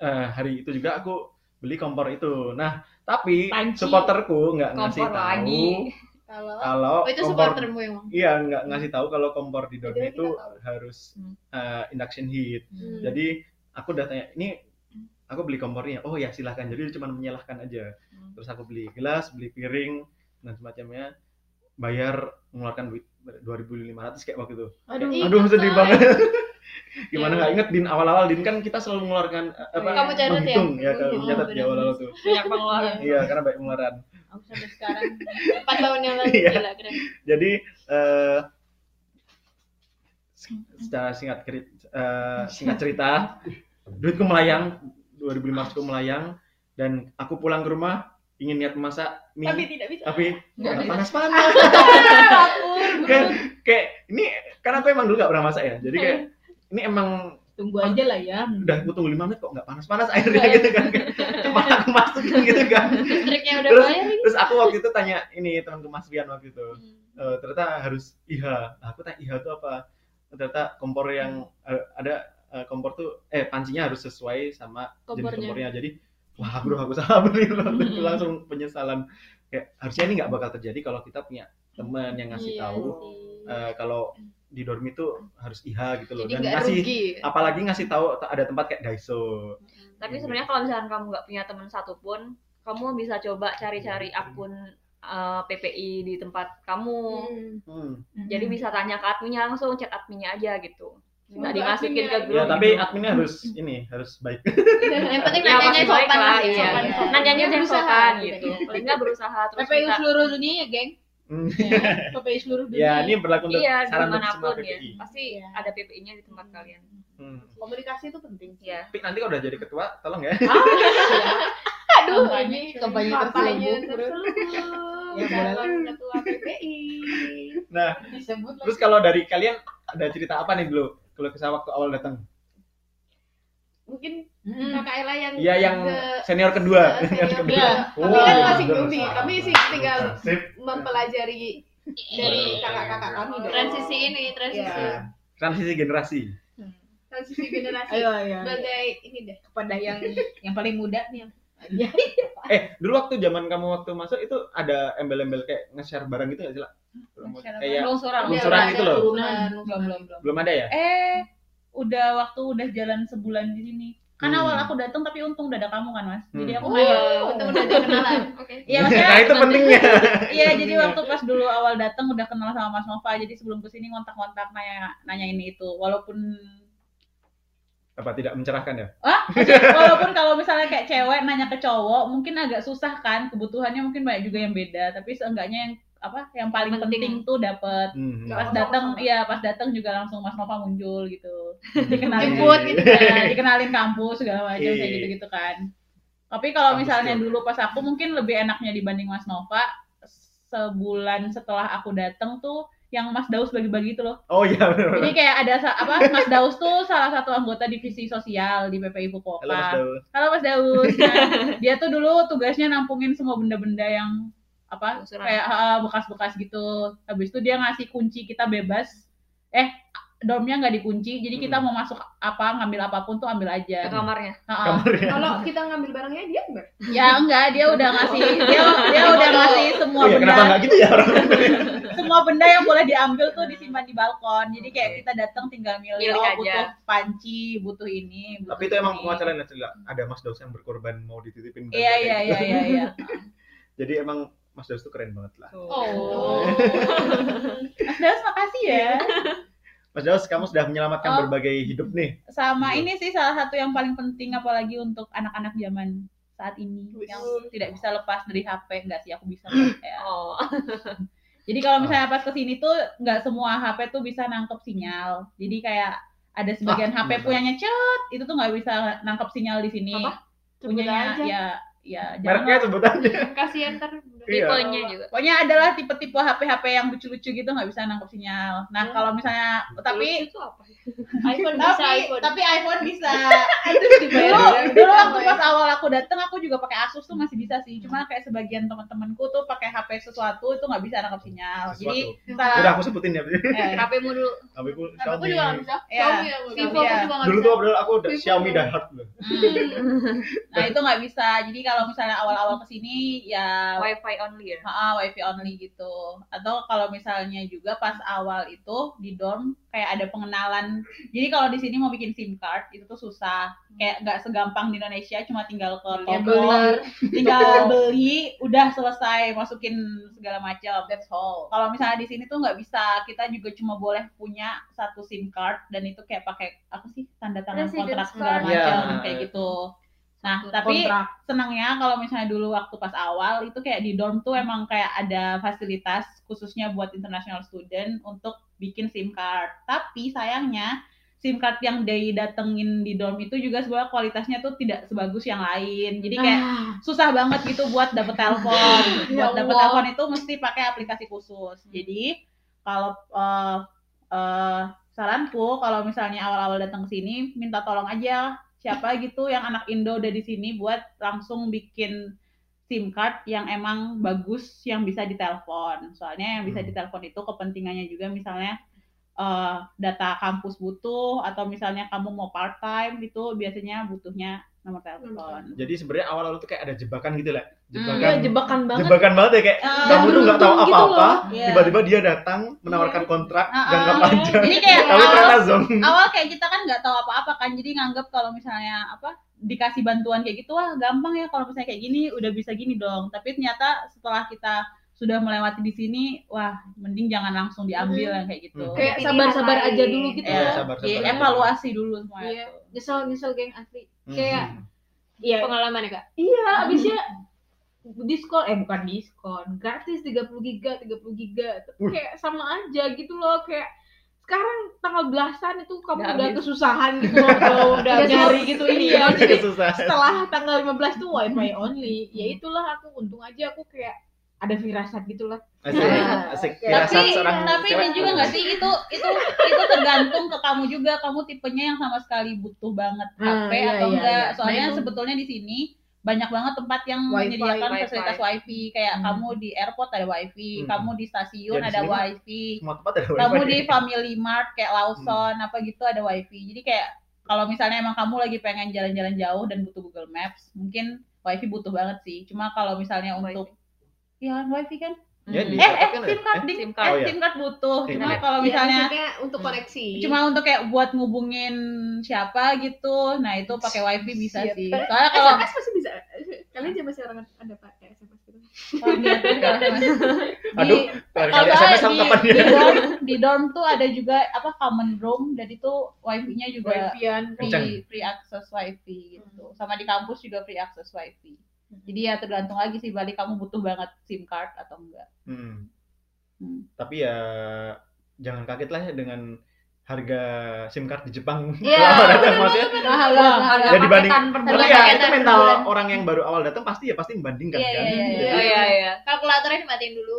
S2: eh, hari itu juga aku beli kompor itu. Nah, tapi
S3: Panci.
S2: supporterku nggak ngasih
S5: Kompor
S2: tahu
S5: lagi.
S4: Kalau
S2: kalau
S4: oh, itu
S2: kompor
S4: supportermu yang
S2: iya nggak ngasih tahu kalau kompor di dorm
S4: Jadi kita
S2: itu
S4: tahu.
S2: harus
S5: Hmm.
S2: eh, induction heat.
S4: Hmm.
S2: Jadi aku udah tanya ini aku beli kompornya. Oh ya silahkan. Jadi cuma menyalahkan aja.
S5: Hmm.
S2: Terus aku beli gelas, beli piring dan semacamnya bayar mengeluarkan duit 2.500 kayak waktu itu.
S3: Aduh.
S4: Ih,
S2: Aduh sedih
S4: Kak.
S2: banget. Gimana nggak inget Din awal-awal Din kan kita selalu mengeluarkan eh, apa?
S4: Iya. Kamu catat ya?
S2: menghitung ya, kalau
S4: Oh,
S2: mencatat di
S4: benar.
S2: awal-awal tuh.
S5: banyak pengeluaran.
S2: Iya karena banyak pengeluaran.
S3: Aku sampai sekarang.
S4: 4 tahun yang lalu
S2: Iya.
S4: gila keren.
S2: Jadi eh se- secara singkat keri- eh, singkat cerita, duitku melayang, 2.500ku melayang dan aku pulang ke rumah ingin niat masak mie
S4: Tapi
S2: tapi,
S4: tidak bisa.
S2: nggak panas-panas. kayak, kayak ini karena aku emang dulu nggak pernah masak ya. Jadi kayak ini emang
S3: Tunggu aja lah ya.
S2: udah aku tunggu lima menit kok nggak panas-panas airnya gitu kan cepat aku masukin gitu kan
S4: Listriknya udah
S2: Terus-
S4: bayar ini.
S2: terus aku waktu itu tanya ini temanku Mas Rian waktu itu eh, ternyata harus IH Nah, aku tanya IH itu apa ternyata kompor yang eh, ada eh, kompor tuh eh pancinya harus sesuai sama jenis
S4: Kompornya.
S2: kompornya jadi wah bro aku salah beli Itu langsung penyesalan kayak harusnya ini nggak bakal terjadi kalau kita punya teman yang ngasih
S4: Iya
S2: tahu
S4: sih.
S2: eh, kalau di dorm itu harus IH gitu loh
S4: Jadi
S2: dan
S4: nggak
S2: ngasih
S4: rugi.
S2: apalagi ngasih tahu ada tempat kayak Daiso
S5: Tapi
S2: Hmm.
S5: sebenarnya kalau misalkan kamu nggak punya teman satupun, kamu bisa coba cari-cari
S2: Hmm.
S5: akun eh, PPI di tempat kamu.
S2: Hmm.
S5: Jadi bisa tanya ke adminnya langsung, chat adminnya aja gitu. Bisa
S1: Semoga
S5: dimasukin
S1: adminnya
S5: ke
S1: ada.
S5: grup. gitu.
S2: Ya, tapi adminnya harus ini harus baik.
S4: Yang penting
S5: Ya,
S4: nanyanya
S5: pasti baik
S4: sopan
S5: lah,
S4: lah ya.
S5: iya.
S4: Sopan-sopan. Dia
S5: Nanyanya jangan
S4: berusaha
S5: sopan
S4: gitu.
S5: gitu. Paling nggak berusaha terus
S3: PPI
S5: minta-
S3: seluruh dunia ya, geng.
S2: Hmm.
S3: Ya, PPI
S2: ya,
S3: seluruh dunia.
S2: ini berlaku untuk
S5: Iya,
S2: saran untuk semua
S5: dimanapun ya.
S2: PPI.
S5: Pasti
S3: Iya.
S5: ada PPI-nya di tempat kalian.
S2: Hmm.
S1: Komunikasi itu penting.
S5: Iya.
S2: Tapi nanti kalau udah jadi ketua, tolong ya.
S4: Aduh,
S3: Kampanye,
S4: ini
S3: kampanye
S1: Kampanye
S3: terselubung.
S1: terselubung.
S3: Ya, boleh lah.
S1: Calon ketua PPI.
S2: Nah,
S3: Disebut lah.
S2: terus kalau dari kalian ada cerita apa nih dulu? Kalau kisah waktu awal datang.
S1: Mungkin
S3: Hmm.
S1: kakak Ella yang
S2: Iya, yang
S1: ke-
S2: senior kedua.
S1: ke senior
S2: Senior
S1: kedua.
S2: kedua.
S1: Kami kan
S3: Oh,
S1: masih
S2: betul.
S1: newbie, kami sih tinggal
S7: Sip.
S1: mempelajari dari
S2: Iya.
S1: kakak-kakak kami dong.
S4: transisi ini, transisi.
S1: Iya.
S2: Transisi generasi.
S1: transisi generasi.
S3: Ayo, ayo.
S1: Sebagai ini deh.
S3: Kepada yang yang paling muda nih. yang- Ya.
S2: Eh, dulu waktu zaman kamu waktu masuk itu ada embel-embel kayak nge-share barang gitu nggak sih, lah? Kayak
S5: Longsoran.
S2: Longsoran
S1: Ada
S2: gitu loh.
S1: turunan,
S3: Belum, belum, belum.
S2: belum ada ya?
S3: Eh, udah waktu udah jalan sebulan di sini. Kan
S2: Hmm.
S3: awal aku datang tapi untung udah ada kamu kan, Mas. Jadi
S2: Hmm.
S3: aku main.
S4: Wow, untung Oh. udah ada kenalan. Oke.
S3: Iya, maksudnya
S2: nah, itu pentingnya.
S3: Iya, jadi waktu pas dulu awal datang udah kenal sama Mas Nova. Jadi sebelum kesini ngontak-ngontak nanya nanyain itu. Walaupun
S2: Apa tidak mencerahkan ya?
S3: walaupun kalau misalnya kayak cewek nanya ke cowok mungkin agak susah kan kebutuhannya mungkin banyak juga yang beda tapi seenggaknya yang apa yang paling penting,
S5: Penting.
S3: tuh dapet
S2: Hmm.
S3: pas datang iya pas datang juga langsung Mas Nova muncul gitu dikenalin
S4: Jemput gitu
S3: Nah,
S4: kan.
S3: dikenalin kampus segala macam kayak
S2: Iya.
S3: gitu-gitu kan. Tapi kalau
S2: Kampus
S3: misalnya
S2: juga.
S3: dulu pas aku mungkin lebih enaknya dibanding Mas Nova sebulan setelah aku datang tuh yang Mas Daus bagi-bagi itu loh.
S2: Oh iya benar.
S3: Jadi kayak ada sa- apa Mas Daus tuh salah satu anggota divisi sosial di PPI Fukuoka.
S2: Halo Mas Daud.
S3: Halo Mas Daus. Nah, dia tuh dulu tugasnya nampungin semua benda-benda yang apa
S5: Usuran.
S3: kayak ah, bekas-bekas gitu. Habis itu dia ngasih kunci kita bebas. Eh, dormnya nggak dikunci. Jadi kita
S2: Mm-mm.
S3: mau masuk apa, ngambil apapun tuh ambil aja.
S5: ke kamarnya.
S3: Nah,
S2: Kamarnya.
S1: Kalau kita ngambil barangnya dia enggak?
S3: ya enggak, dia udah ngasih dia dia udah ngasih semua
S2: Oh iya
S3: benda
S2: kenapa nggak gitu ya orang?
S3: semua benda yang boleh diambil tuh disimpan di balkon. Jadi kayak kita datang tinggal milih
S5: Milih
S3: oh,
S5: aja.
S3: butuh panci, butuh ini, butuh
S2: Tapi itu emang
S3: ini.
S2: pengacara Nacila. Ada Mas Daus yang berkorban mau dititipin.
S3: Iya iya iya iya iya.
S2: Jadi emang Mas Daus tuh keren banget lah.
S4: Oh.
S3: Mas Daus makasih ya.
S2: Mas Daus kamu sudah menyelamatkan
S3: Oh.
S2: berbagai hidup nih.
S3: Sama ini sih salah satu yang paling penting apalagi untuk anak-anak zaman saat ini
S1: Wih.
S3: yang tidak bisa lepas dari HP enggak sih aku bisa ya.
S5: Oh.
S3: Jadi kalau misalnya pas ke sini tuh nggak semua HP tuh bisa nangkep sinyal. Jadi kayak ada sebagian
S2: Ah,
S3: HP
S2: iya.
S3: punyanya cet, itu tuh nggak bisa nangkep sinyal di sini.
S5: Apa?
S4: Sebut
S3: Punyanya
S4: aja.
S3: ya ya jangan.
S2: Mereknya sebut aja.
S4: Kasihan ntar.
S2: Iya.
S5: Tipenya juga.
S3: Pokoknya adalah tipe-tipe HP-HP yang lucu-lucu gitu nggak bisa nangkep sinyal. Nah,
S5: Ya.
S3: kalau misalnya tapi
S5: Lucu itu apa? ya?
S4: iPhone bisa
S3: tapi
S4: iPhone.
S3: tapi iPhone bisa. Terus dulu, dulu waktu pas awal aku dateng aku juga pakai Asus tuh masih bisa sih. Cuma kayak sebagian teman-temanku tuh pakai HP sesuatu itu nggak bisa nangkap sinyal. Jadi
S2: Sesuatu.
S3: salah-
S2: Udah aku sebutin ya.
S3: eh,
S5: HP-mu dulu.
S2: Aku
S4: Tapi aku juga nggak bisa.
S3: Iya.
S4: Xiaomi aku. Vivo aku
S3: Iya.
S4: juga nggak
S2: Dulu
S4: bisa.
S2: tuh padahal aku udah
S1: Vivo.
S2: Xiaomi die hard loh.
S3: hmm. Nah, itu nggak bisa. Jadi kalau misalnya awal-awal kesini ya
S5: Wi-Fi only ya.
S3: Ah, wifi only gitu. Atau kalau misalnya juga pas awal itu di dorm kayak ada pengenalan. Jadi kalau di sini mau bikin SIM card itu tuh susah. Kayak nggak segampang di Indonesia cuma tinggal ke toko, tinggal beli, udah selesai masukin segala macam. That's all. Kalau misalnya di sini tuh nggak bisa. Kita juga cuma boleh punya satu SIM card dan itu kayak pakai apa sih tanda tangan
S4: Residence
S3: kontrak segala
S4: card.
S3: macam
S2: Ya.
S3: kayak gitu. Nah,
S5: Satu
S3: tapi senangnya kalau misalnya dulu waktu pas awal itu kayak di dorm tuh emang kayak ada fasilitas khususnya buat international student untuk bikin SIM card. Tapi sayangnya SIM card yang day datengin di dorm itu juga sebenarnya kualitasnya tuh tidak sebagus yang lain. Jadi kayak susah banget gitu buat dapet telepon. buat dapet
S4: Allah.
S3: telepon itu mesti pakai aplikasi khusus. Jadi kalau eh eh, saranku kalau misalnya awal-awal datang ke sini minta tolong aja siapa gitu yang anak Indo udah di sini buat langsung bikin SIM card yang emang bagus yang bisa ditelepon. Soalnya yang bisa
S2: Hmm.
S3: ditelepon itu kepentingannya juga misalnya eh, data kampus butuh atau misalnya kamu mau part time itu biasanya butuhnya nomor telepon.
S2: Jadi sebenarnya awal-awal tuh kayak ada jebakan gitu lah.
S3: Hmm,
S4: Iya,
S2: Jebakan.
S4: jebakan banget.
S2: Jebakan banget ya kayak
S3: Eh,
S2: kamu tuh nggak tahu
S4: beruntung gitu
S2: apa-apa,
S3: Iya.
S2: tiba-tiba dia datang menawarkan kontrak
S3: Ah,
S2: jangka
S3: ah.
S2: panjang.
S3: Jadi kayak
S2: Tapi
S3: awal-
S2: ternyata zoom.
S3: awal kayak kita kan nggak tahu apa-apa kan jadi nganggep kalau misalnya apa dikasih bantuan kayak gitu wah gampang ya kalau misalnya kayak gini udah bisa gini dong tapi ternyata setelah kita sudah melewati di sini wah mending jangan langsung diambil yang kayak gitu
S2: Hmm.
S4: Kayak
S1: Pilihan
S4: sabar-sabar
S1: lain.
S4: aja dulu gitu
S3: Iya,
S4: ya.
S2: sabar, sabar.
S3: Jadi evaluasi dulu semua
S4: Iya.
S3: itu
S4: Nyesel nyesel geng asli.
S2: Hmm.
S4: Kayak
S5: Iya.
S4: pengalaman ya kak iya
S1: Hmm.
S4: abisnya diskon eh bukan diskon gratis 30 giga 30 giga tapi
S1: Hmm.
S2: Uh.
S4: kayak sama aja gitu loh kayak sekarang tanggal belasan itu kamu
S5: Udah
S4: udah,
S5: habis.
S4: kesusahan gitu loh kalau udah
S1: Iya, Udah Hmm.
S4: nyari gitu ini ya
S2: Jadi
S4: jadi
S2: susah.
S4: setelah tanggal 15 tuh wifi only ya itulah aku untung aja aku kayak ada firasat gitu lah
S2: Asik, asik. Firasat
S3: Iya. tapi
S2: seorang
S3: tapi ini
S2: Iya, cewek.
S3: juga nggak sih itu itu itu tergantung ke kamu juga kamu tipenya yang sama sekali butuh banget HP
S4: Hmm, iya,
S3: atau
S4: iya,
S3: enggak
S4: iya.
S3: soalnya
S4: Nah, itu-
S3: sebetulnya di sini banyak banget tempat yang
S4: Wifi,
S3: menyediakan
S5: wifi.
S3: fasilitas wifi kayak
S4: Hmm.
S3: kamu di airport ada wifi
S2: Hmm.
S3: kamu di
S2: Ya,
S3: stasiun
S2: di
S3: ada
S2: sini mah
S3: wifi
S2: Semua tempat ada wifi. Hmm.
S3: kamu di family mart kayak Lawson apa gitu ada wifi jadi kayak kalau misalnya emang kamu lagi pengen jalan-jalan jauh dan butuh Google Maps mungkin wifi butuh banget sih cuma kalau misalnya untuk ya wifi kan
S5: Hmm.
S2: Ya, di-
S3: eh eh
S2: Kan ada-
S3: SIM card,
S2: eh,
S3: Ding.
S5: SIM
S3: eh
S5: card.
S2: Oh, iya.
S3: SIM card butuh.
S2: Iya,
S3: Cuma
S2: iya.
S3: kalau
S1: Ya,
S3: misalnya
S1: maksudnya
S2: Hmm.
S1: untuk Eh, koneksi.
S3: cuma untuk kayak buat ngubungin siapa gitu, nah itu pakai wifi bisa
S1: Siap.
S3: sih. Soalnya kalau
S1: SMS masih bisa. Kalian juga masih orang ada pakai SMS gitu.
S3: Oh, iya, bener, Mas. di
S2: Aduh, kalau
S3: kalau
S2: ada SMS sama
S3: di,
S2: kapan
S3: di
S2: ya?
S3: dorm di dorm tuh ada juga apa common room dan itu wifi-nya juga
S4: wifian
S2: Kenceng.
S3: free, free access
S1: Hmm.
S3: wifi gitu. Sama di kampus juga free access wifi. Jadi ya tergantung lagi sih balik kamu butuh banget SIM card atau enggak.
S2: Hmm.
S3: Hmm.
S2: Tapi ya jangan kaget lah ya dengan harga SIM card di Jepang.
S5: Iya,
S2: Orang datang maksudnya.
S3: Mahal banget.
S5: Harga
S2: Ya, dibanding-
S5: paketan per
S2: Tapi
S4: Harga
S5: bulan.
S2: ya itu
S4: paketan
S2: mental
S4: sebulan.
S2: orang yang baru awal datang pasti ya pasti membandingkan
S3: Iya,
S2: kan.
S3: iya, iya,
S5: Oh iya iya.
S4: Kalkulatornya dimatiin dulu.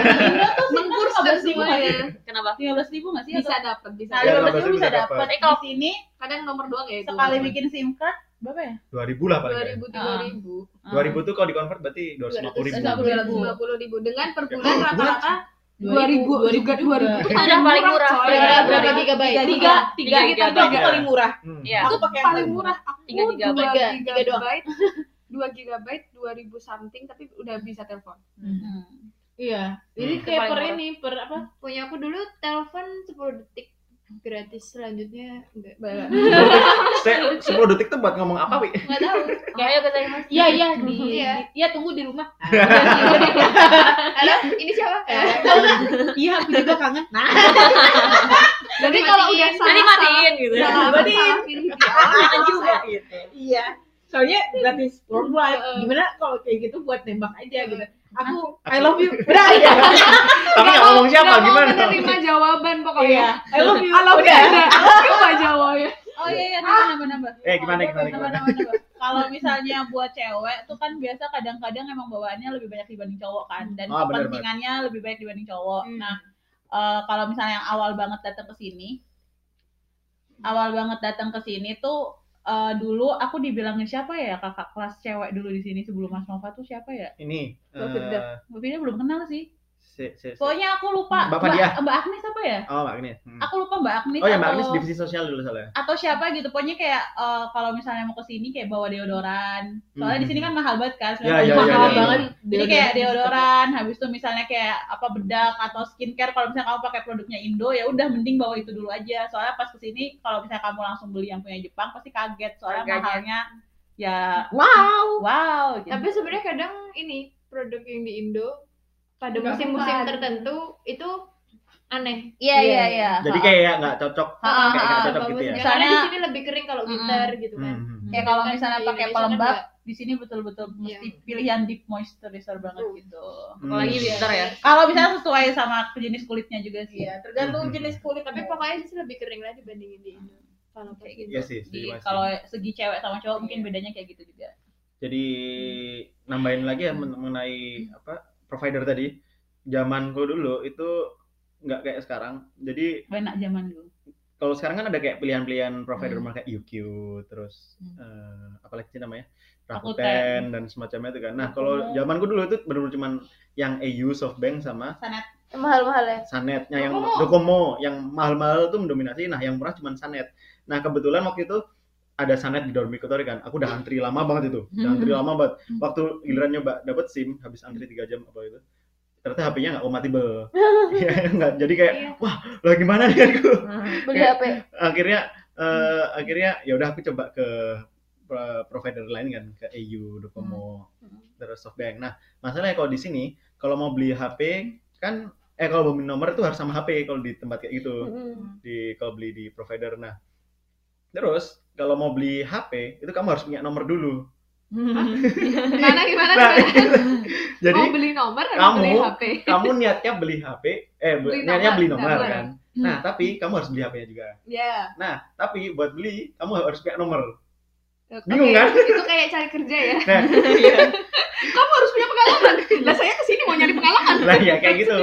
S3: kan
S1: mengkurs
S3: Ada
S1: ke
S3: semua
S1: semuanya Iya,
S5: Kenapa?
S3: lima belas ribu nggak sih?
S1: bisa dapat bisa
S3: Nah,
S2: Iya,
S1: dapet.
S3: lima belas ribu bisa Eh,
S2: 15.000 dapat.
S3: dapat.
S5: Tapi
S3: Di
S5: kalau-
S3: sini
S1: kadang nomor doang ya itu
S3: sekali bikin SIM card berapa ya?
S2: 2000 lah paling.
S1: dua
S2: nggak.
S1: ribu tiga ribu
S2: Dua ribu tuh kalau dikonvert berarti 250 Ah. ribu.
S3: 250.
S1: dua ratus lima puluh ribu dengan per bulan rata-rata dua
S3: 2000,
S1: ribu juga dua ribu
S5: Itu udah paling murah.
S1: coy.
S5: Iya,
S4: Berapa
S5: iya.
S4: gigabyte?
S3: eh,
S1: tiga tiga
S5: Tiga gitu
S1: kita
S5: gigabyte.
S1: pakai paling murah
S2: Hmm.
S5: Iya.
S3: Aku
S1: itu
S3: pakai yang
S1: paling
S3: paling
S1: murah aku
S5: Tiga
S1: dua
S5: gigabyte.
S4: Tiga, tiga doang.
S1: gigabyte dua gigabyte dua ribu something tapi udah bisa telepon
S3: Hmm.
S4: Iya.
S2: Jadi
S5: kayak per
S4: ini per apa? Punya aku dulu telepon 10 detik gratis selanjutnya enggak.
S1: Bala.
S2: Saya 10 detik tuh buat ngomong apa, Wi?
S4: Enggak tahu.
S5: Ya ayo kita mas.
S3: Iya iya di
S4: Iya.
S3: di- iya tunggu di rumah.
S4: Halo, ini siapa?
S3: Iya aku juga kangen. Nah,
S1: jadi kalau udah
S4: Iya,
S5: Nanti
S1: salah
S5: matiin gitu.
S6: ya.
S3: Nah,
S1: salah salah
S3: Matiin.
S1: salah pilih di awal,
S3: kangen
S1: salah
S3: Ah, juga gitu. Iya. Soalnya gratis worldwide. Gimana kalau kayak gitu buat nembak aja gitu. Aku I love you. Udah
S1: Iya,
S3: aja.
S2: Tapi nggak ngomong siapa
S1: Nggak mau
S2: gimana?
S1: menerima jawaban pokoknya
S3: I love you.
S1: kalau
S3: Udah.
S1: udah
S2: Iya,
S1: coba jawabnya
S3: Oh iya iya nambah nambah nambah.
S2: Eh, gimana, gimana,
S3: Nambah,
S2: gimana?
S3: nambah, nambah. Kalau misalnya buat cewek tuh kan biasa kadang-kadang emang bawaannya lebih banyak dibanding cowok kan dan
S2: Ah, benar,
S3: kepentingannya lebih banyak dibanding cowok.
S4: Hmm.
S3: Nah, eh, kalau misalnya yang awal banget datang ke sini awal banget datang ke sini tuh eh, dulu aku dibilangin siapa ya kakak kelas cewek dulu di sini sebelum Mas Nova tuh siapa ya?
S2: Ini
S3: Gua
S2: eh,
S3: pindah. Gue belum kenal sih.
S2: si- si- si-
S3: Pokoknya aku lupa.
S2: Bapak dia.
S3: Mbak, Mbak Agnes apa ya?
S2: Oh, Mbak Agnes. Hmm.
S3: Aku lupa Mbak Agnes.
S2: Oh ya, Mbak
S3: atau-
S2: Agnes divisi sosial dulu soalnya.
S3: atau siapa gitu pokoknya kayak eh, kalau misalnya mau ke sini kayak bawa deodoran soalnya
S2: Hmm.
S3: di sini kan mahal banget kan
S2: Ya, ya, ya,
S3: sebenarnya mahal
S2: ya, ya.
S3: banget jadi kayak deodoran habis itu misalnya kayak apa bedak atau skincare kalau misalnya kamu pakai produknya Indo ya udah mending bawa itu dulu aja soalnya pas ke sini kalau misalnya kamu langsung beli yang punya Jepang pasti kaget soalnya
S5: Harganya.
S3: mahalnya ya
S4: Wow.
S3: wow gitu.
S4: Tapi sebenarnya kadang ini produk yang di Indo pada
S1: Nggak
S4: musim-musim
S1: bukan.
S4: tertentu itu aneh.
S3: iya iya iya
S2: Jadi kayak nggak cocok,
S3: Ha, ha,
S2: kayak nggak
S3: ha,
S2: cocok
S4: Kalau
S2: ah, gitu ya.
S4: musim- Karena
S3: Misalnya-
S4: di sini lebih kering kalau
S5: Mm-mm.
S4: winter gitu kan.
S2: Hmm, hmm.
S3: kayak kalau
S4: Sedangkan
S3: misalnya
S4: di
S3: pakai
S4: Indonesia kan
S3: pelembab
S4: nggak.
S3: di sini betul-betul mesti
S4: Iya.
S3: pilihan deep moisturizer banget
S1: Betul.
S3: gitu
S5: Apalagi
S2: Hmm.
S5: winter ya.
S3: kalau misalnya sesuai sama jenis kulitnya juga sih
S1: Iya,
S2: tergantung jenis
S1: kulit
S4: Tapi pokoknya di sini lebih kering lah dibandingin di Indo. Kalau kayak gitu.
S2: Iya sih,
S3: Jadi
S2: setuju, Mas.
S3: kalau segi cewek sama cowok mungkin bedanya kayak gitu juga.
S2: Jadi nambahin lagi ya men- mengenai
S3: Hmm.
S2: apa provider tadi. Zamanku dulu itu nggak kayak sekarang. Jadi
S3: Enak zaman dulu.
S2: kalau sekarang kan ada kayak pilihan-pilihan provider
S3: Hmm.
S2: mereka UQ, terus
S3: Hmm.
S2: eh, apa lagi sih namanya
S3: Rakuten. Hmm.
S2: Rakuten dan semacamnya itu kan. Nah kalau
S3: Rakuten.
S2: zamanku dulu itu benar-benar cuman yang AU, SoftBank sama
S3: Sanet.
S4: Mahal-mahal ya.
S2: Sanetnya yang Docomo yang mahal-mahal itu mendominasi. Nah yang murah cuman Sanet. Nah kebetulan waktu itu ada Sanet di dormitory kan. Aku udah antri lama banget itu. Udah antri lama banget. Waktu giliran nyoba dapat SIM habis antri 3 jam apa itu. Ternyata HP-nya nggak kompatibel. Ya, nggak. Jadi
S4: Iya.
S2: kayak wah, lah gimana nih aku?
S4: Beli
S2: Kayak-
S4: HP.
S2: akhirnya eh,
S1: Hmm.
S2: akhirnya ya udah aku coba ke pro- provider lain kan ke AU, Docomo,
S1: Hmm.
S2: terus SoftBank. Nah, masalahnya kalau di sini kalau mau beli HP kan eh kalau mau beli nomor itu harus sama HP kalau di tempat kayak
S1: Hmm.
S2: gitu di kalau beli di provider. Nah, terus kalau mau beli HP itu kamu harus punya nomor dulu.
S1: gimana gimana
S2: Nah, jadi
S1: mau beli nomor atau
S2: kamu-
S1: beli HP
S2: kamu niatnya beli HP, eh
S1: Beli
S2: niatnya
S1: nomor,
S2: beli nomor
S1: nomor. Hmm.
S2: kan. Nah, tapi kamu harus beli HP-nya juga.
S1: ya
S2: Nah, tapi buat beli kamu harus punya nomor.
S1: Oke,
S2: Bingung, kan?
S1: itu kayak cari kerja ya
S2: Nah,
S1: kamu harus punya pengalaman lah saya kesini mau nyari pengalaman
S2: lah ya kayak gitu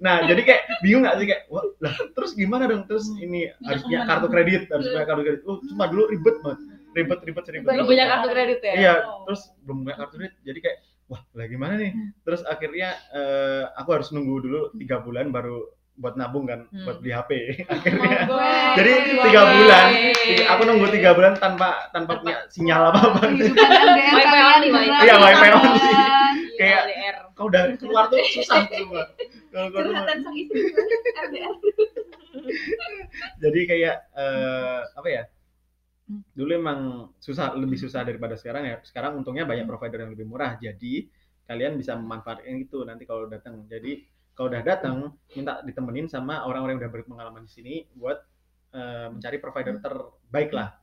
S2: nah jadi kayak bingung gak sih kayak wah lah terus gimana dong terus ini harus punya kartu kredit harus punya kartu kredit oh cuma dulu ribet banget ribet ribet ribet
S5: Belum punya kartu kredit ya.
S2: iya terus belum punya kartu kredit jadi kayak wah lah gimana nih
S5: Hmm.
S2: terus akhirnya eh, aku harus nunggu dulu tiga bulan baru buat nabung kan
S5: Hmm.
S2: buat beli HP
S1: Weh,
S2: jadi
S1: weh,
S2: tiga
S1: weh.
S2: bulan tiga- aku nunggu tiga bulan tanpa tanpa punya sinyal apa apa
S1: kehidupan LDR
S5: Wifi
S1: kalian
S5: only,
S1: berat,
S2: Iya, wifi
S1: teman.
S2: only. Kayak-
S5: LDR.
S2: kalau udah keluar tuh susah keluar Kalau keluar tuh-
S3: sang istri.
S1: LDR.
S2: jadi kayak eh, apa ya dulu emang susah lebih susah daripada sekarang ya sekarang untungnya banyak provider yang lebih murah jadi kalian bisa memanfaatkan itu nanti kalau datang jadi kalau udah datang minta ditemenin sama orang-orang yang udah berpengalaman di sini buat eh, mencari provider terbaik lah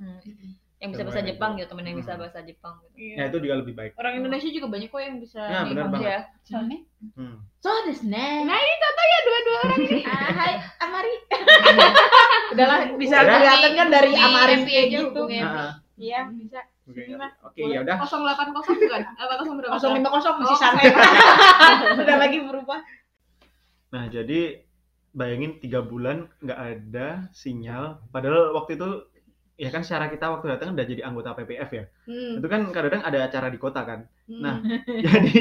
S5: Hmm. yang bisa bahasa
S2: Keren.
S5: Jepang gitu temen yang bisa
S2: Hmm.
S5: bahasa Jepang gitu.
S2: Nah itu juga lebih baik.
S1: Iya. Orang Indonesia juga banyak kok yang bisa.
S2: Nah, benar banget.
S5: Ya.
S3: Soalnya
S2: Hmm.
S4: So desu ne.
S1: Nah ini contoh ya dua-dua orang ini.
S4: Ah, hai Amari.
S1: Udahlah bisa
S2: Udah.
S1: kelihatan kan dari
S4: Hubungi
S1: Amarin
S4: FB
S1: kayak
S4: aja,
S1: gitu.
S4: hubungi FB.
S2: Nah,
S1: Iya bisa.
S2: oke,
S1: Sini lah.
S2: oke ya udah.
S1: 080 bukan? Apa 0 berapa?
S3: 050 masih
S1: Oh,
S3: sama.
S1: Udah lagi berubah.
S2: Nah jadi bayangin tiga bulan nggak ada sinyal. Padahal waktu itu ya kan secara kita waktu datang udah jadi anggota PPF ya.
S1: Hmm.
S2: Itu kan kadang-kadang ada acara di kota kan.
S1: hmm.
S2: Nah. Jadi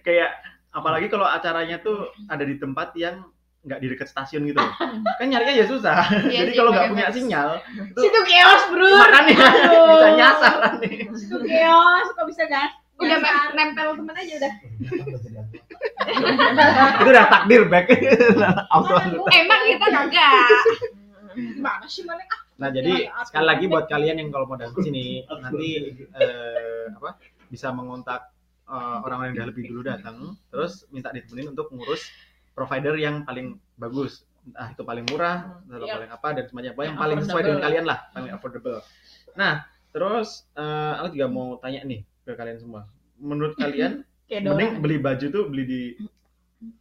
S2: kayak apalagi kalau acaranya tuh ada di tempat yang nggak di dekat stasiun gitu. loh. kan nyarinya ya susah.
S1: Iya
S2: jadi
S1: sih,
S2: kalau nggak
S1: pakai
S2: punya
S1: garis.
S2: sinyal tuh
S3: Situ chaos, Bro.
S2: makanya
S3: Aduh.
S2: bisa nyasar nih.
S3: Situ chaos, kok bisa gas?
S1: Udah mem- nempel temen aja udah.
S2: itu udah takdir back auto
S1: Emang kita kagak.
S3: Mana sih mana?
S2: nah jadi sekali lagi buat kalian yang kalau mau datang ke sini nanti eh, apa bisa mengontak eh, orang-orang yang udah lebih dulu datang terus minta ditemenin untuk ngurus provider yang paling bagus ah itu paling murah atau
S3: Iya.
S2: paling apa dan semacam apa yang
S3: Yang
S2: paling sesuai dengan
S3: affordable.
S2: kalian lah paling affordable nah terus eh, aku juga mau tanya nih ke kalian semua menurut kalian
S3: Kayak dorong.
S2: mending beli baju tuh beli di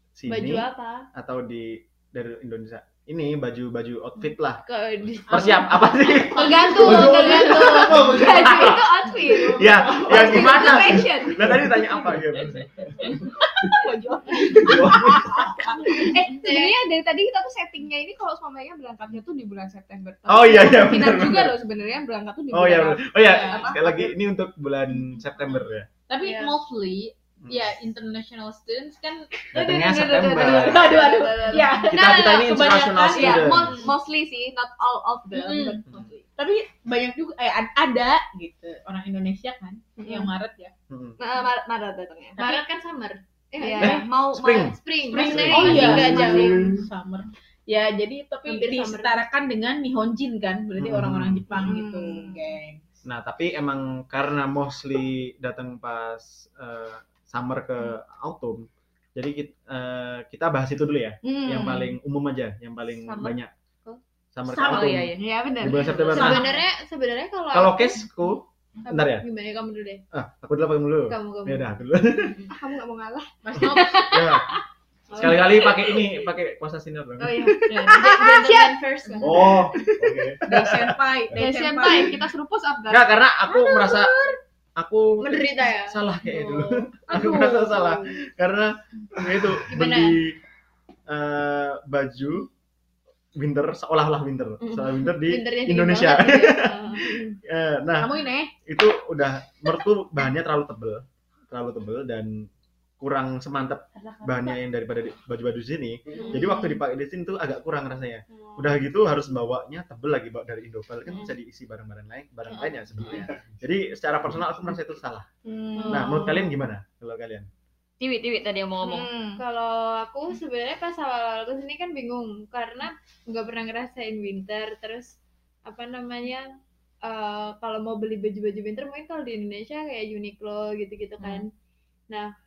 S2: sini
S4: Baju apa?
S2: atau di dari Indonesia ini baju-baju outfit lah
S1: Ke
S2: persiap apa sih
S1: Tergantung,
S7: Baju-
S1: tergantung. Baju itu outfit.
S2: ya ya
S1: Outfit itu
S2: gimana
S1: fashion.
S2: nah tadi tanya apa ya
S1: Eh, sebenarnya dari tadi kita tuh settingnya ini kalau semuanya berangkatnya tuh di bulan September.
S2: oh iya iya
S1: Kita
S2: benar
S1: juga
S2: benar.
S1: loh sebenarnya berangkat tuh di
S2: oh
S1: bulan
S2: iya benar. oh iya
S1: Apa?
S2: sekali lagi ini untuk bulan September ya
S3: Tapi
S1: Iya.
S3: mostly
S2: Hmm.
S6: Iya.
S3: ya international students kan
S4: Iya,
S2: datangnya
S1: Aduh, aduh,
S2: September
S1: aduh, aduh, aduh, aduh, aduh, aduh.
S3: ya
S2: kita kita ini international
S6: ya,
S3: kebanyakan,
S1: Iya,
S2: student
S1: mo- mostly sih, not all of them,
S3: Mm-mm.
S1: but mostly.
S3: Mm-hmm. tapi banyak juga eh ad- ada gitu orang Indonesia kan yang Maret ya
S2: Hmm.
S1: Nah, Maret, Maret datangnya.
S4: Maret kan summer. Eh,
S1: Iya,
S3: Nah,
S2: Eh,
S1: mau
S2: spring.
S1: mau-
S4: spring.
S1: Spring.
S4: Maksudnya
S1: Oh,
S4: masih
S1: iya.
S4: nggak jauh.
S3: summer ya jadi tapi
S4: Hampir summer.
S3: disetarakan dengan Nihonjin kan berarti
S2: Hmm.
S3: orang-orang Jepang
S1: Hmm.
S3: gitu geng
S2: nah tapi emang karena mostly datang pas eh, summer ke autumn jadi kita, eh, kita bahas itu dulu ya
S1: Hmm.
S2: yang paling umum aja, yang paling
S1: Summer.
S2: banyak.
S4: Oh.
S2: Summer ke
S5: Oh
S3: Summer,
S2: autumn.
S5: iya iya.
S1: Iya, benar.
S2: Di bulan September. Nah,
S4: Sebenarnya sebenarnya kalau
S2: kalau
S4: aku-
S2: caseku,
S4: apa?
S2: bentar ya.
S4: Gimana kamu dulu deh?
S2: ah, aku dulu apa yang dulu?
S4: Kamu kamu.
S2: Ya udah, aku dulu.
S1: Ah, kamu gak mau ngalah.
S3: Mas Nob
S2: Ya. Sekali-kali pakai ini, pakai puasa sinar dong.
S1: Oh iya.
S4: Gentleman first kan.
S2: Oh,
S7: Oke.
S3: Dai Senpai
S1: Ya,
S3: Dai Senpai
S1: senpai, kita suruh post up kan?
S2: enggak karena aku merasa aku
S4: Menderita ya.
S2: salah kayak dulu. Aku merasa salah karena ya itu
S4: Gimana?
S2: beli eh, baju winter seolah-olah winter, seolah winter di
S4: Winternya dingin
S2: Indonesia.
S4: banget gitu ya.
S2: Eh, nah,
S3: kamu ini
S2: itu udah menurutku bahannya terlalu tebel terlalu tebel dan kurang semantep bahannya yang daripada di- baju-baju di sini
S4: Hmm.
S2: jadi waktu dipakai di sini tuh agak kurang rasanya udah gitu harus bawanya tebel lagi bawa dari Indoval kan
S4: Hmm.
S2: bisa diisi barang-barang lain barang lain ya sebenarnya jadi secara personal aku merasa itu salah
S4: Hmm.
S2: nah menurut kalian gimana kalau kalian
S5: Tiwi Tiwi tadi yang mau ngomong.
S1: Ngomong.
S4: Kalau aku sebenarnya pas awal-awal kesini kan bingung karena nggak pernah ngerasain winter terus apa namanya eh, kalau mau beli baju-baju winter mungkin kalau di Indonesia kayak Uniqlo gitu-gitu kan. Nah,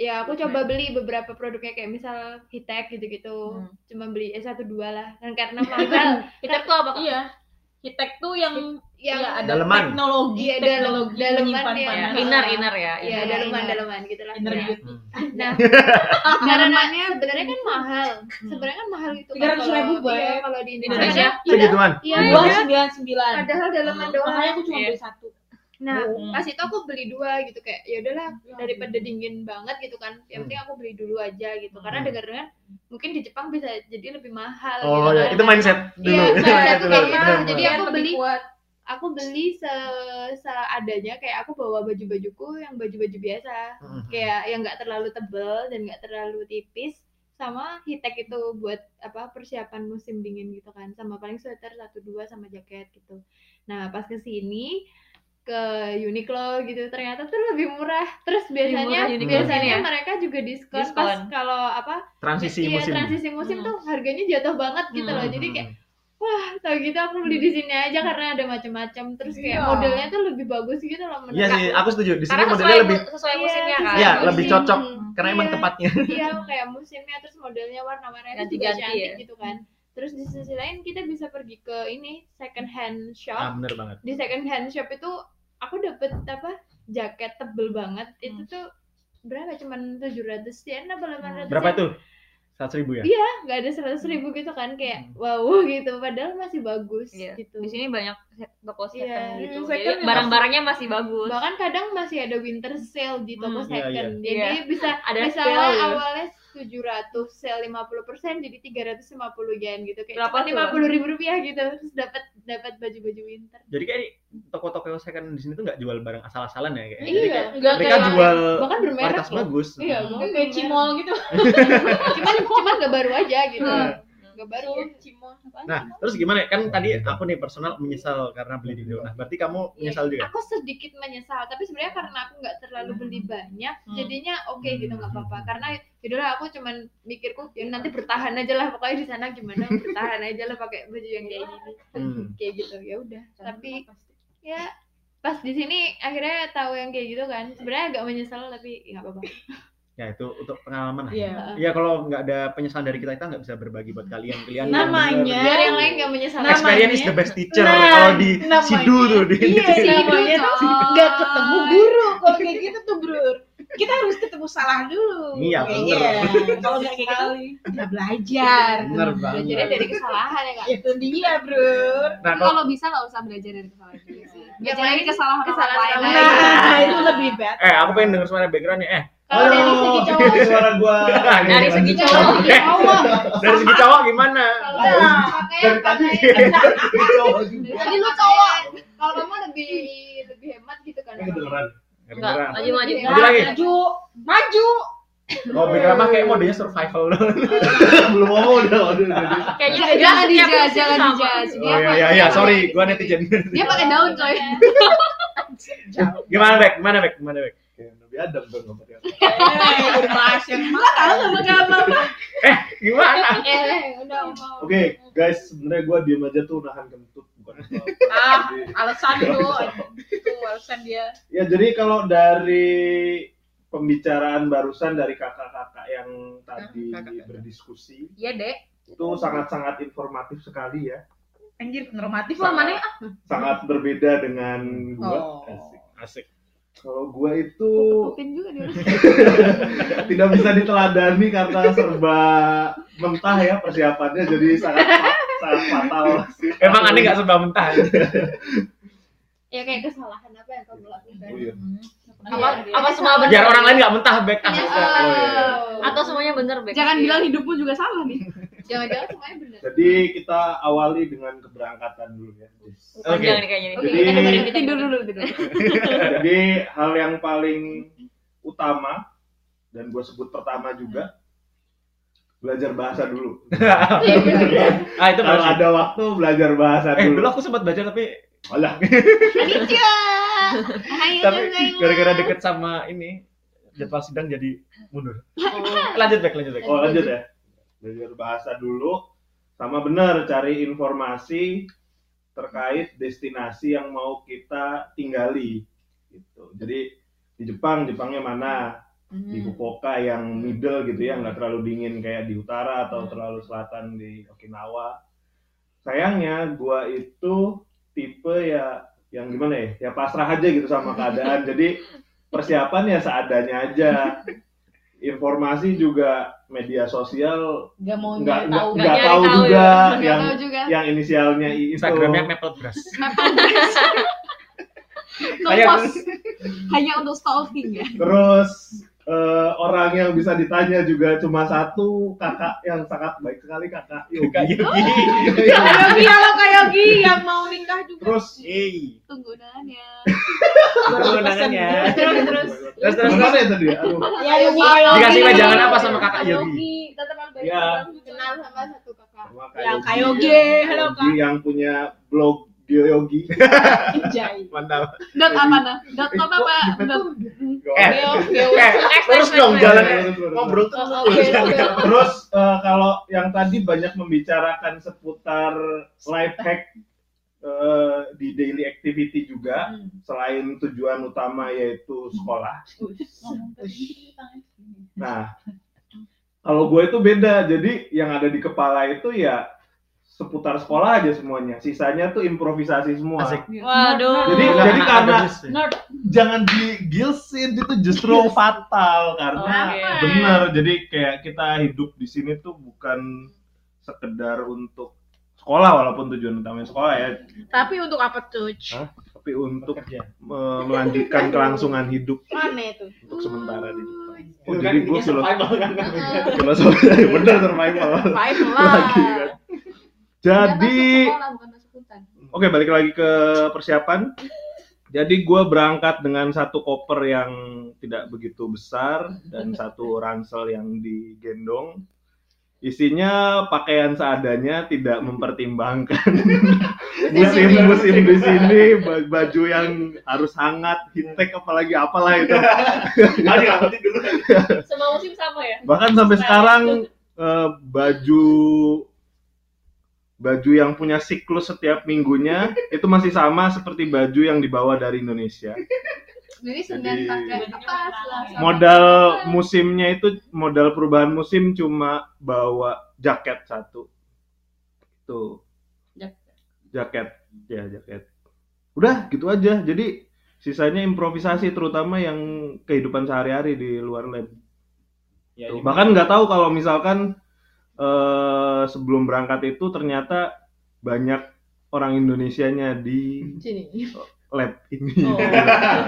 S4: ya aku coba beli beberapa produknya kayak misal Hitek gitu-gitu.
S5: Hmm.
S4: Cuma beli eh satu dua lah. Dan karena mahal
S5: Hitek tuh apa? Kak?
S3: iya Hitek tuh yang
S6: Iya,
S4: yang
S3: ya, ada
S2: Daleman.
S3: teknologi
S4: Iya, dalem-
S3: teknologi
S4: daleman
S3: menyimpan
S4: ya.
S5: Ya,
S3: panas.
S5: Inner inner ya.
S4: ya
S5: inner.
S4: daleman daleman gitu lah.
S3: Inner
S4: Ya.
S3: beauty.
S2: Hmm.
S4: Nah,
S1: Karena
S4: Karena sebenarnya kan mahal. Sebenarnya kan mahal gitu. kan
S3: 300 ribu,
S4: kalau- iya,
S3: Bay.
S4: kalau di
S5: Indonesia.
S4: Indonesia. Padahal-
S2: segituan
S4: Iya,
S3: dua sembilan sembilan
S4: padahal daleman
S6: Ah.
S4: doang.
S3: makanya aku cuma
S5: Iya.
S3: beli satu
S4: Nah,
S5: Hmm.
S4: pas itu aku beli dua gitu kayak ya udahlah
S2: Hmm.
S4: daripada dingin banget gitu kan. Yang penting aku beli dulu aja gitu. Karena
S2: Hmm.
S4: dengar-dengar mungkin di Jepang bisa jadi lebih mahal
S2: oh
S4: gitu.
S2: ya
S4: kan.
S2: itu mindset dulu
S4: Iya,
S2: itu
S4: mindset
S2: mindset
S4: tuh
S2: dulu
S4: kayak gitu.
S2: Benar,
S4: Jadi
S2: benar.
S3: Biar
S4: aku
S1: Iya.
S3: lebih
S4: beli-
S3: kuat.
S4: Aku beli se seadanya kayak aku bawa baju-bajuku yang baju-baju biasa.
S2: Hmm.
S4: Kayak yang nggak terlalu tebel dan nggak terlalu tipis sama hitek itu buat apa persiapan musim dingin gitu kan sama paling sweater satu dua sama jaket gitu nah pas ke sini ke Uniqlo gitu ternyata tuh lebih murah terus biasanya
S5: murah Uniqlo
S4: biasanya
S5: sini ya?
S4: mereka juga diskon, pas
S5: Diskon.
S4: kalau apa
S2: transisi
S4: iya,
S2: musim Hmm.
S4: transisi musim
S3: Hmm.
S4: tuh harganya jatuh banget gitu loh jadi kayak tau gitu aku beli di sini aja karena ada macam-macam terus kayak
S3: Iya.
S4: modelnya tuh lebih bagus gitu loh menurut
S2: iya sih
S4: aku.
S2: aku setuju di sini
S5: Karena
S2: modelnya
S5: sesuai
S2: lebih
S5: mu- sesuai
S4: Iya,
S5: musimnya kan.
S4: sesuai
S2: Iya, lebih
S4: musim.
S1: Hmm.
S2: cocok. karena emang
S4: Iya.
S2: tempatnya
S4: Iya, kayak musimnya terus modelnya warna-warnanya juga
S5: Ganti-ganti
S4: cantik
S5: ya.
S4: gitu kan. Terus di sisi lain kita bisa pergi ke ini second hand shop.
S2: Ah, bener banget.
S4: Di second hand shop itu aku dapet apa jaket tebel banget.
S5: Hmm.
S4: Itu tuh berapa? Cuman 700 yen apa 800
S2: Berapa
S4: yen?
S2: itu? Seratus ribu ya?
S4: Iya, nggak ada 100 ribu gitu kan kayak
S2: Hmm.
S4: wow gitu. Padahal masih bagus
S5: Iya.
S4: gitu.
S5: Di sini banyak se- toko second
S4: Iya,
S5: gitu.
S4: mm,
S5: Jadi
S4: second
S5: barang-barangnya masih bagus.
S4: Bahkan kadang masih ada winter sale di toko
S5: Hmm,
S2: iya,
S4: second.
S5: iya.
S4: Jadi bisa
S5: Ada
S4: misalnya
S5: sale ya.
S4: awalnya 700 sale 50% jadi 350 yen gitu kayak
S5: Berapa
S4: cuma
S5: tuh?
S4: 50 ribu rupiah gitu terus dapat dapat baju-baju winter
S2: Jadi kayak toko-toko second di sini tuh nggak jual barang asal-asalan ya kayak.
S4: Iya.
S2: Jadi kayak
S3: Enggak
S2: mereka
S3: kayak
S2: jual
S4: bahkan bermerek
S2: Eh, kualitas
S4: loh.
S2: bagus. Hmm.
S4: iya bahkan
S3: kayak
S4: bermerek.
S3: cimol gitu.
S4: cuman cuman gak baru aja gitu
S2: Nah.
S4: gak baru
S1: Iya.
S3: Cimol.
S2: Nah, terus gimana? Kan tadi
S4: Iya.
S2: aku nih personal menyesal karena beli di Nah, berarti kamu menyesal juga.
S4: aku sedikit menyesal tapi sebenarnya karena aku nggak terlalu beli banyak
S3: Hmm.
S4: jadinya oke gitu nggak apa-apa
S2: Hmm.
S4: karena yaudahlah aku cuman mikirku ya nanti bertahan aja lah pokoknya di sana gimana bertahan aja lah pakai baju yang kayak gini
S2: Hmm.
S4: kayak gitu ya udah tapi ya pas di sini akhirnya tahu yang kayak gitu kan sebenarnya agak menyesal tapi nggak apa-apa
S2: Ya itu untuk pengalaman. lah.
S3: Iya.
S2: Iya, kalau nggak ada penyesalan dari kita kita nggak bisa berbagi buat kalian. Kalian
S3: Namanya-
S4: biar yang lain nggak menyesal
S3: Namanya-
S2: experience is the best teacher.
S3: Nah,
S2: kalau di
S3: namanya-
S2: Sidu tuh di
S3: Iya,
S2: di-
S3: namanya tuh
S4: Coy.
S3: nggak ketemu guru kalau kayak gitu tuh bro kita harus ketemu salah dulu
S2: Iya,
S3: Kayaknya. kalau nggak kayak gitu nggak belajar
S2: Bener
S4: belajarnya
S2: banget.
S4: dari kesalahan ya kak
S3: itu dia bro
S2: Nah, kalau
S5: Kalau bisa nggak usah belajar dari kesalahan juga sih.
S4: Yang
S5: Belajar dari
S4: lain-
S5: kesalahan
S4: kesalahan
S5: orang
S4: orang
S5: lain.
S4: lain.
S3: nah itu lebih better
S2: eh aku pengen denger suara backgroundnya eh
S4: kalau dari
S2: Halo.
S4: segi cowok
S7: Suara gua.
S5: Dari segi cowok.
S4: kalau dari cowok
S2: dari segi cowok gimana?
S4: kalau
S3: Nah.
S4: dari pakaian
S7: Dari tadi.
S4: pakaian
S7: Dari cowok juga.
S4: jadi lu cowok kalau kamu lebih lebih hemat gitu kan
S7: Ini beneran.
S5: Enggak,
S2: Kedengeran.
S5: maju maju.
S2: Maju lagi.
S3: maju maju
S2: Oh, background mah kayak modenya survival doang.
S7: Belum ngomong udah udah udah.
S5: Kayaknya
S1: Jangan- jangan
S5: setiap
S1: dijudge,
S5: musim
S1: jangan
S5: sama.
S1: dijudge.
S2: Oh iya iya iya, sorry, gua netizen.
S1: Dia pakai daun coy.
S2: Gimana Bek? Gimana Bek? Gimana Bek?
S7: Kayak Nabi Adam dong ngomongnya.
S2: Gimana?
S4: eh udah mau
S7: Oke, guys, sebenarnya gua diem aja tuh nahan kentut bukan apa-apa.
S3: ah
S7: Jadi-
S3: alasan lu itu alasan dia
S7: Ya jadi kalau dari pembicaraan barusan dari kakak-kakak yang tadi
S3: kakak-kakak.
S7: berdiskusi
S3: iya dek
S7: itu sangat-sangat informatif sekali ya,
S3: anjir normatif lah
S7: lah,
S3: mana
S7: mana sangat berbeda dengan gua.
S3: Oh.
S7: Asik.
S2: Asik.
S7: Kalau gua itu
S1: Tutupin juga dia.
S7: tidak bisa diteladani karena serba mentah ya persiapannya jadi sangat sangat fatal.
S2: Emang aneh gak serba mentah.
S4: ya kayak kesalahan apa yang kamu lakukan
S7: Oh, iya.
S5: Apa apa semua benar?
S2: Biar orang lain gak mentah Bek. Ah,
S4: Iya.
S2: udah. Oh, iya.
S5: atau semuanya Iya. benar, Bek.
S1: Jangan bilang hidupmu juga salah nih.
S4: jangan-jangan semuanya benar
S7: Jadi kita awali dengan keberangkatan dulu ya.
S2: Oke.
S5: Panjang nih kayaknya nih.
S4: Oke,
S7: Jadi-
S4: kita dengerin, kita
S1: Tidur
S4: dengerin.
S1: dulu, tidur. dulu.
S7: Jadi hal yang paling utama dan gue sebut pertama juga belajar bahasa dulu.
S2: Ah, itu
S7: Kalau
S2: bagus.
S7: ada waktu belajar bahasa
S2: Eh,
S7: dulu.
S2: dulu aku sempat belajar tapi
S7: Alah,
S4: Konnichiwa. Hai,
S2: tapi
S4: gozaimasu.
S2: gara-gara deket sama ini jadwal sidang jadi mundur. Lanjut Bek, lanjut Bek.
S7: oh lanjut ya. Belajar bahasa dulu sama benar cari informasi terkait destinasi yang mau kita tinggali gitu. Jadi di Jepang, Jepangnya mana? Di Fukuoka yang middle gitu ya, nggak terlalu dingin kayak di utara atau terlalu selatan di Okinawa. Sayangnya gua itu tipe ya yang gimana ya? Ya pasrah aja gitu sama keadaan. Jadi persiapan ya seadanya aja. Informasi juga media sosial
S3: Oh, nggak mau
S7: nggak
S3: nyari
S7: nggak
S3: tahu
S7: nggak
S5: nyari
S7: tahu
S5: tahu
S7: juga
S4: Nggak
S7: yang
S4: tahu juga.
S7: yang inisialnya I itu.
S2: Instagramnya Maple Grass.
S1: Ngepost hanya untuk stalking ya.
S7: Terus eh, orang yang bisa ditanya juga cuma satu kakak yang sangat baik sekali
S2: Kak
S7: kakak Yogi.
S2: Yugi.
S3: Yogi halo Ya, Kak Yogi yang mau nikah juga
S7: Terus
S2: Yeay.
S1: Tunggu undangannya.
S2: undangannya.
S3: terus terus
S2: Terus terus
S7: Beneran
S2: terus.
S7: ya tadi? Aduh.
S3: ya Yogi Yogi.
S2: Dikasih wejangan apa sama kakak Yogi?
S4: Kita terlalu baik
S7: Iya.
S4: kenal sama satu kakak.
S7: Sama Kak
S3: yang Kak
S7: Yogi.
S3: Yogi halo
S7: Yogi
S3: Kak
S7: yang punya blog Geoyogi.
S3: Jai
S2: Mantap.
S1: Dot apa nah? Dot apa apa? Dot
S2: Eh, eh, terus dong jalan ngobrol terus.
S3: oke oke
S7: Terus eh, kalau yang tadi banyak membicarakan seputar life hack eh, di daily activity juga selain tujuan utama yaitu sekolah Nah, kalau gue itu beda. Jadi yang ada di kepala itu ya seputar sekolah aja semuanya. Sisanya tuh improvisasi semua.
S2: Asik.
S5: Waduh.
S7: Jadi jadi
S2: Ada
S7: karena
S2: jus ya?
S3: Nerd.
S7: jangan digilsin itu justru fatal karena
S5: Oke.
S7: benar. Jadi kayak kita hidup di sini tuh bukan sekedar untuk sekolah walaupun tujuan utamanya sekolah ya,
S6: Tapi untuk apa tuh?
S7: Hah? tapi untuk
S2: Bekerja.
S7: me- melanjutkan kelangsungan hidup
S6: Mana itu?
S7: untuk sementara di Jepang. Oh,
S2: Itu kan
S7: jadi gue
S2: intinya
S7: filosofi
S2: survival kan.
S7: filosofi bener survival.
S6: Baik lah.
S7: Lagi kan. Jadi Oke, balik lagi ke persiapan. Jadi gue berangkat dengan satu koper yang tidak begitu besar dan satu ransel yang digendong. Isinya pakaian seadanya, tidak mempertimbangkan musim-musim di sini, ba- baju yang harus hangat, hitek apalagi apalah itu.
S2: Ah, dilakuin dulu.
S5: Semua musim sama ya?
S7: Bahkan sampai sekarang eh, baju baju yang punya siklus setiap minggunya itu masih sama seperti baju yang dibawa dari Indonesia.
S4: Jadi senin
S7: Jadi-
S4: pakai apa? Selasa
S7: modal
S4: pakai apa?
S7: musimnya itu modal perubahan musim cuma bawa jaket satu tuh jaket ya jaket udah gitu aja jadi sisanya improvisasi terutama yang kehidupan sehari-hari di luar lab
S2: Ya,
S7: Tuh,
S2: ini-
S7: bahkan nggak tahu kalau misalkan eh, sebelum berangkat itu ternyata banyak orang Indonesianya di
S4: Sini.
S7: lab ini
S3: Oh.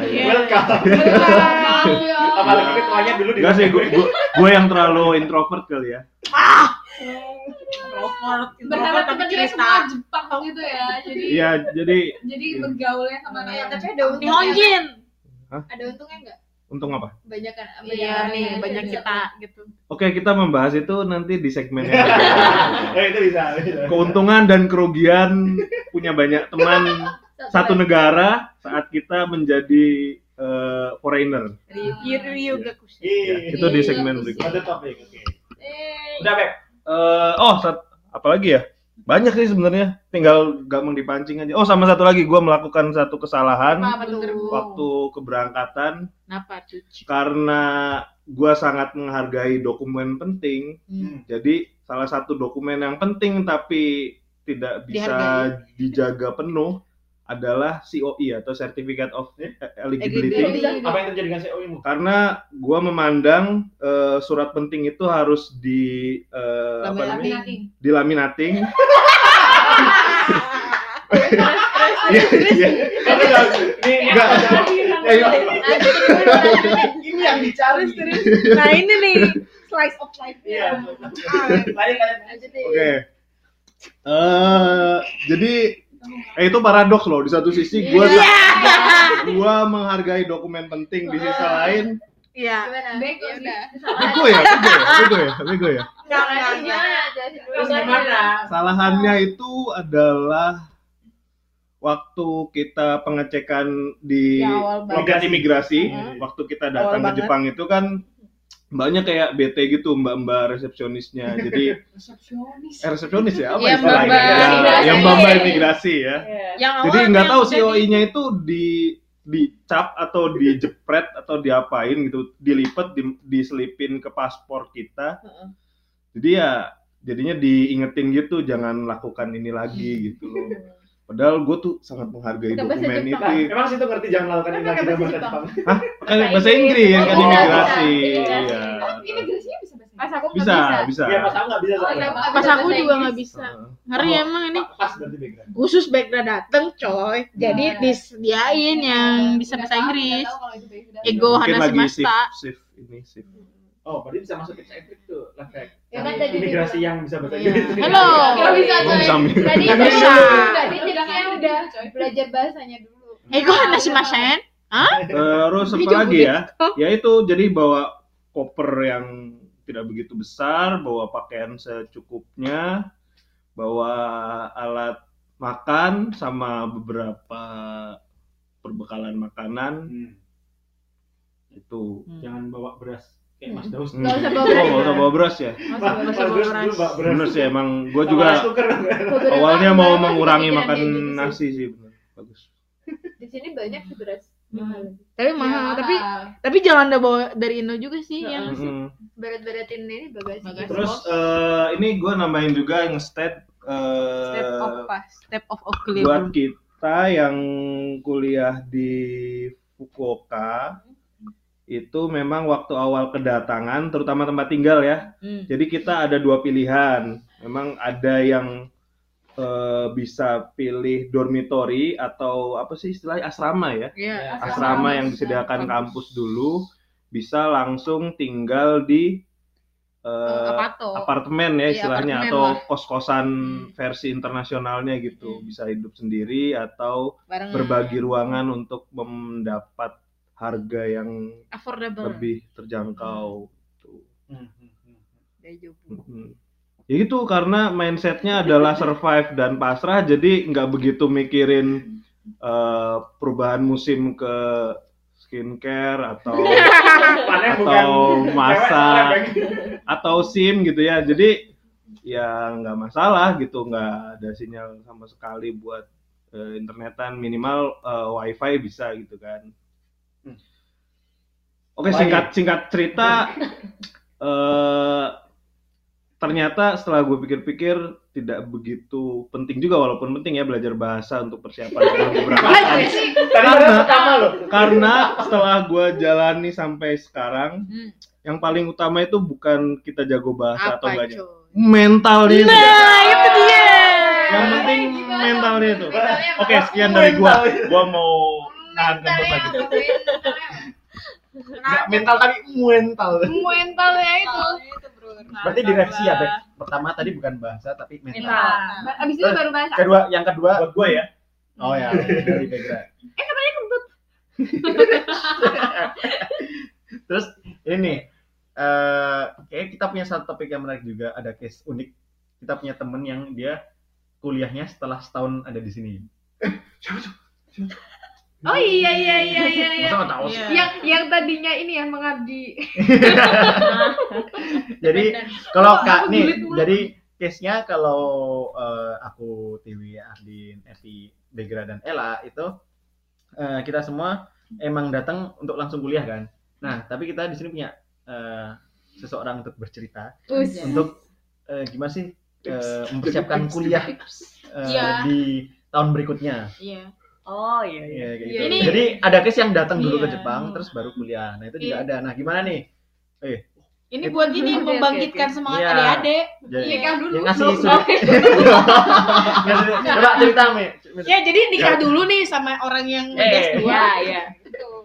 S3: Iya.
S2: Welcome. Apalagi ketuanya dulu di.
S7: Enggak sih, gue yang terlalu introvert kali ya.
S3: kan. Introvert. Introvert
S1: Berharap
S3: tapi
S1: kita kira
S3: cerita.
S1: semua Jepang gitu ya. Jadi
S7: Iya, jadi
S1: jadi bergaulnya sama
S4: Nah,
S1: anak
S4: tapi ada untungnya.
S6: Nihonjin.
S4: Ada untungnya nggak?
S7: Untung apa?
S4: Banyak kan?
S6: Iya nih banyak
S4: kita
S6: kita gitu.
S7: Oke, kita membahas itu nanti di segmen yang kedua.
S2: Eh, itu bisa. bisa.
S7: Keuntungan dan kerugian punya banyak teman satu negara saat kita menjadi eh, foreigner.
S6: Ryu Gakushi.
S2: Ih,
S7: Ya, itu di segmen berikutnya.
S2: Ada topik. Oke.
S1: Eh,
S2: Udah, Beb.
S7: Eh, oh, sat- apalagi ya? Banyak sih sebenarnya. Tinggal gampang dipancing aja. Oh, sama satu lagi gua melakukan satu kesalahan
S6: Apa tuh?
S7: waktu keberangkatan
S6: Kenapa cuci?
S7: karena gua sangat menghargai dokumen penting.
S6: Hmm.
S7: Jadi salah satu dokumen yang penting tapi tidak bisa dijaga penuh adalah COI atau Certificate of Eligibility.
S6: Eligibility.
S2: Apa yang terjadi dengan CEO mu?
S7: Karena gua memandang eh, surat penting itu harus di eh, apa namanya? dilaminating. Iya, iya.
S2: Ini
S7: Enggak. Eh, iya. Ayo.
S2: ini yang dicari.
S6: Nah ini nih slice of life.
S2: Iya. Lanjut, lanjut.
S7: Oke. Eh, jadi eh, itu paradoks loh di satu sisi gua gua menghargai dokumen penting di sisi lain
S6: Iya.
S4: Gimana?
S1: Bego sih.
S7: bego ya, bego ya, bego ya, bego ya.
S6: Nggak nggak nggak.
S4: Gimana? Jelasin dulu.
S2: Terus gimana?
S7: Kesalahannya itu adalah waktu kita pengecekan di
S3: Di awal banget.
S7: lokasi imigrasi,
S2: Hmm.
S7: waktu kita datang
S6: Iya. Awal
S7: ke
S6: banget.
S7: Jepang itu kan banyak kayak BT gitu mbak-mbak resepsionisnya. Jadi eh, resepsionis ya apa
S6: Iya,
S7: istilahnya?
S6: mbak-mbak
S7: Ya,
S6: imigrasi.
S7: yang mbak-mbak imigrasi ya.
S1: Iya.
S6: Yang awal.
S7: Jadi nggak
S6: yang
S7: tahu oh, iya.
S6: jadi-
S7: COI-nya itu di dicap atau dijepret atau diapain gitu, dilipet, di- diselipin ke paspor kita.
S6: Heeh.
S7: Jadi ya jadinya diingetin gitu, jangan lakukan ini lagi gitu loh. Padahal gue tuh sangat menghargai
S4: Pakai bahasa
S7: dokumen
S4: Jepang.
S7: itu.
S2: Emang situ ngerti jangan melakukan ini lagi dalam bahasa Jepang.
S7: Kan bahasa Inggris yang kan
S4: Oh,
S7: imigrasi.
S4: bisa, bisa.
S7: Iya.
S1: Imigrasinya bisa bahasa
S4: Pas aku nggak
S7: Bisa, bisa.
S2: Iya, pas aku nggak bisa.
S4: Oh,
S2: soalnya.
S4: iya, Pak.
S6: Pas aku juga nggak bisa.
S7: Heeh.
S6: Ngeri
S2: Oh.
S6: emang ini.
S2: Pa- Pas berarti background.
S6: Khusus background dateng coy. Jadi disediain
S4: Iya,
S1: Iya,
S6: yang bisa bahasa Inggris. Ego
S7: Mungkin
S6: Hana
S7: lagi shift,
S6: Simasta.
S7: shift ini shift.
S2: Oh, berarti bisa masuk tips and trick tuh, Lefek.
S4: Ya kan tadi
S2: Imigrasi
S4: dibilang.
S2: yang bisa bahasa
S6: Iya.
S2: Inggris.
S6: Halo.
S4: Nggak
S1: iya.
S4: bisa
S7: Belum
S4: coy.
S7: sambil.
S4: Tadi
S6: Nggak bisa.
S4: Tadi jadinya udah belajar bahasanya dulu.
S6: Ego Hana Simasen.
S7: Terus
S6: Ini
S7: apa
S6: juga
S7: lagi ya?
S6: gitu.
S7: Ya itu jadi bawa koper yang tidak begitu besar, bawa pakaian secukupnya, bawa alat makan sama beberapa perbekalan makanan
S2: Hmm.
S7: itu.
S2: Jangan bawa beras kayak Mas Daus.
S7: Hmm.
S4: Nggak usah bawa
S7: Oh,
S4: beras.
S7: nggak usah bawa beras ya.
S2: Mas Mas Daus dulu bawa beras.
S7: Bener sih emang gua
S2: Sama
S7: juga
S2: rice cooker dong.
S4: Beberapa
S7: awalnya mau
S4: orang masih
S7: mengurangi
S4: kepikiran
S7: makan
S4: kayak gitu sih.
S7: nasi sih bener. Bagus.
S4: Di sini banyak sih beras. Hmm. Iya, Mahal.
S1: Iya,
S6: Tapi mahal. Tapi tapi jangan ada bawa dari Indo juga sih. Yang
S7: Mm-mm.
S4: Berat-beratin ini bagasi.
S6: Bagasi.
S7: Terus eh, ini gua nambahin juga yang state eh,
S6: Step of pas, step of of
S7: buat
S6: clear.
S7: kita yang kuliah di Fukuoka itu memang waktu awal kedatangan terutama tempat tinggal ya
S5: Hmm.
S7: jadi kita ada dua pilihan memang ada yang eh, bisa pilih dormitory atau apa sih istilahnya asrama ya
S6: Iya.
S7: asrama yang disediakan kampus dulu bisa langsung tinggal di eh,
S6: Apato.
S7: apartemen ya
S6: Iya,
S7: istilahnya
S6: apartemen
S7: atau
S6: lah. Hmm.
S7: kos-kosan versi internasionalnya gitu bisa hidup sendiri atau
S6: Bareng
S7: berbagi ruangan untuk mendapat harga yang
S6: affordable.
S7: lebih terjangkau
S6: Hmm.
S7: gitu. Tuh.
S2: Hmm,
S6: Dari Jobu.
S7: Mhm. ya gitu karena mindsetnya adalah survive dan pasrah jadi nggak begitu mikirin eh, perubahan musim ke skincare atau
S6: Aneh,
S7: atau masak atau sim gitu ya jadi ya nggak masalah gitu nggak ada sinyal sama sekali buat eh, internetan minimal eh, wifi bisa gitu kan oke
S2: Baik.
S7: singkat singkat cerita eh ternyata setelah gue pikir-pikir tidak begitu penting juga walaupun penting ya belajar bahasa untuk persiapan sebelum keberangkatan
S2: Tadi
S7: Karena-
S2: orang pertama loh.
S7: karena setelah gua jalani sampai sekarang
S6: Hmm.
S7: yang paling utama itu bukan kita jago bahasa atau
S6: Apa
S7: enggaknya
S6: cuy?
S7: mentalnya itu.
S6: Nah, itu dia.
S7: yang penting
S1: Iya. gimana?
S7: mentalnya itu
S1: Mentalnya apa?
S7: oke sekian dari gua
S2: Mentalnya.
S7: gua mau nahan
S2: ya,
S7: kentut lagi
S2: Nggak mental tapi mental.
S1: Mentalnya itu.
S2: Berarti direksi ya, Bek. Pertama tadi bukan bahasa tapi mental.
S5: Mental.
S1: Ba- Abis
S7: Eh.
S1: itu baru bahasa.
S2: Kedua, yang kedua,
S7: buat gua ya
S2: oh ya dari background. Terus ini eh kayaknya kita punya satu topik yang menarik juga, ada case unik. Kita punya temen yang dia kuliahnya setelah setahun ada di sini.
S1: Oh iya iya iya iya. iya.
S2: Masa nggak tahu sih?
S6: Iya.
S1: Yang yang tadinya ini ya mengabdi.
S2: Jadi
S1: Oh,
S2: kalau kak nih
S1: aku julid mulu.
S2: jadi case nya kalau eh, aku Tiwi Ardin Evi Begra dan Ella itu eh, kita semua emang datang untuk langsung kuliah kan nah tapi kita di sini punya eh, seseorang untuk bercerita
S6: Ya.
S2: untuk eh, gimana sih eh, mempersiapkan kuliah eh,
S6: Iya.
S2: di tahun berikutnya
S6: Iya.
S5: Oh iya iya.
S2: Iya, kayak gitu.
S6: Ya, Ini-
S2: jadi ada case yang datang dulu ke
S6: Iya.
S2: Jepang terus baru kuliah nah itu juga
S6: Iya.
S2: ada nah gimana nih
S6: Ini buat
S1: Oke,
S6: ini
S1: oke,
S6: membangkitkan
S1: oke.
S6: semangat
S2: Iya.
S6: adik-adik.
S2: jadi
S1: Nikah dulu.
S2: yang ngasih
S1: dong.
S2: sudut coba cerita Mi.
S1: Iya,
S6: Ya, jadi
S2: Iya.
S6: nikah dulu nih sama orang yang
S2: Eh.
S6: S2.
S5: Iya iya.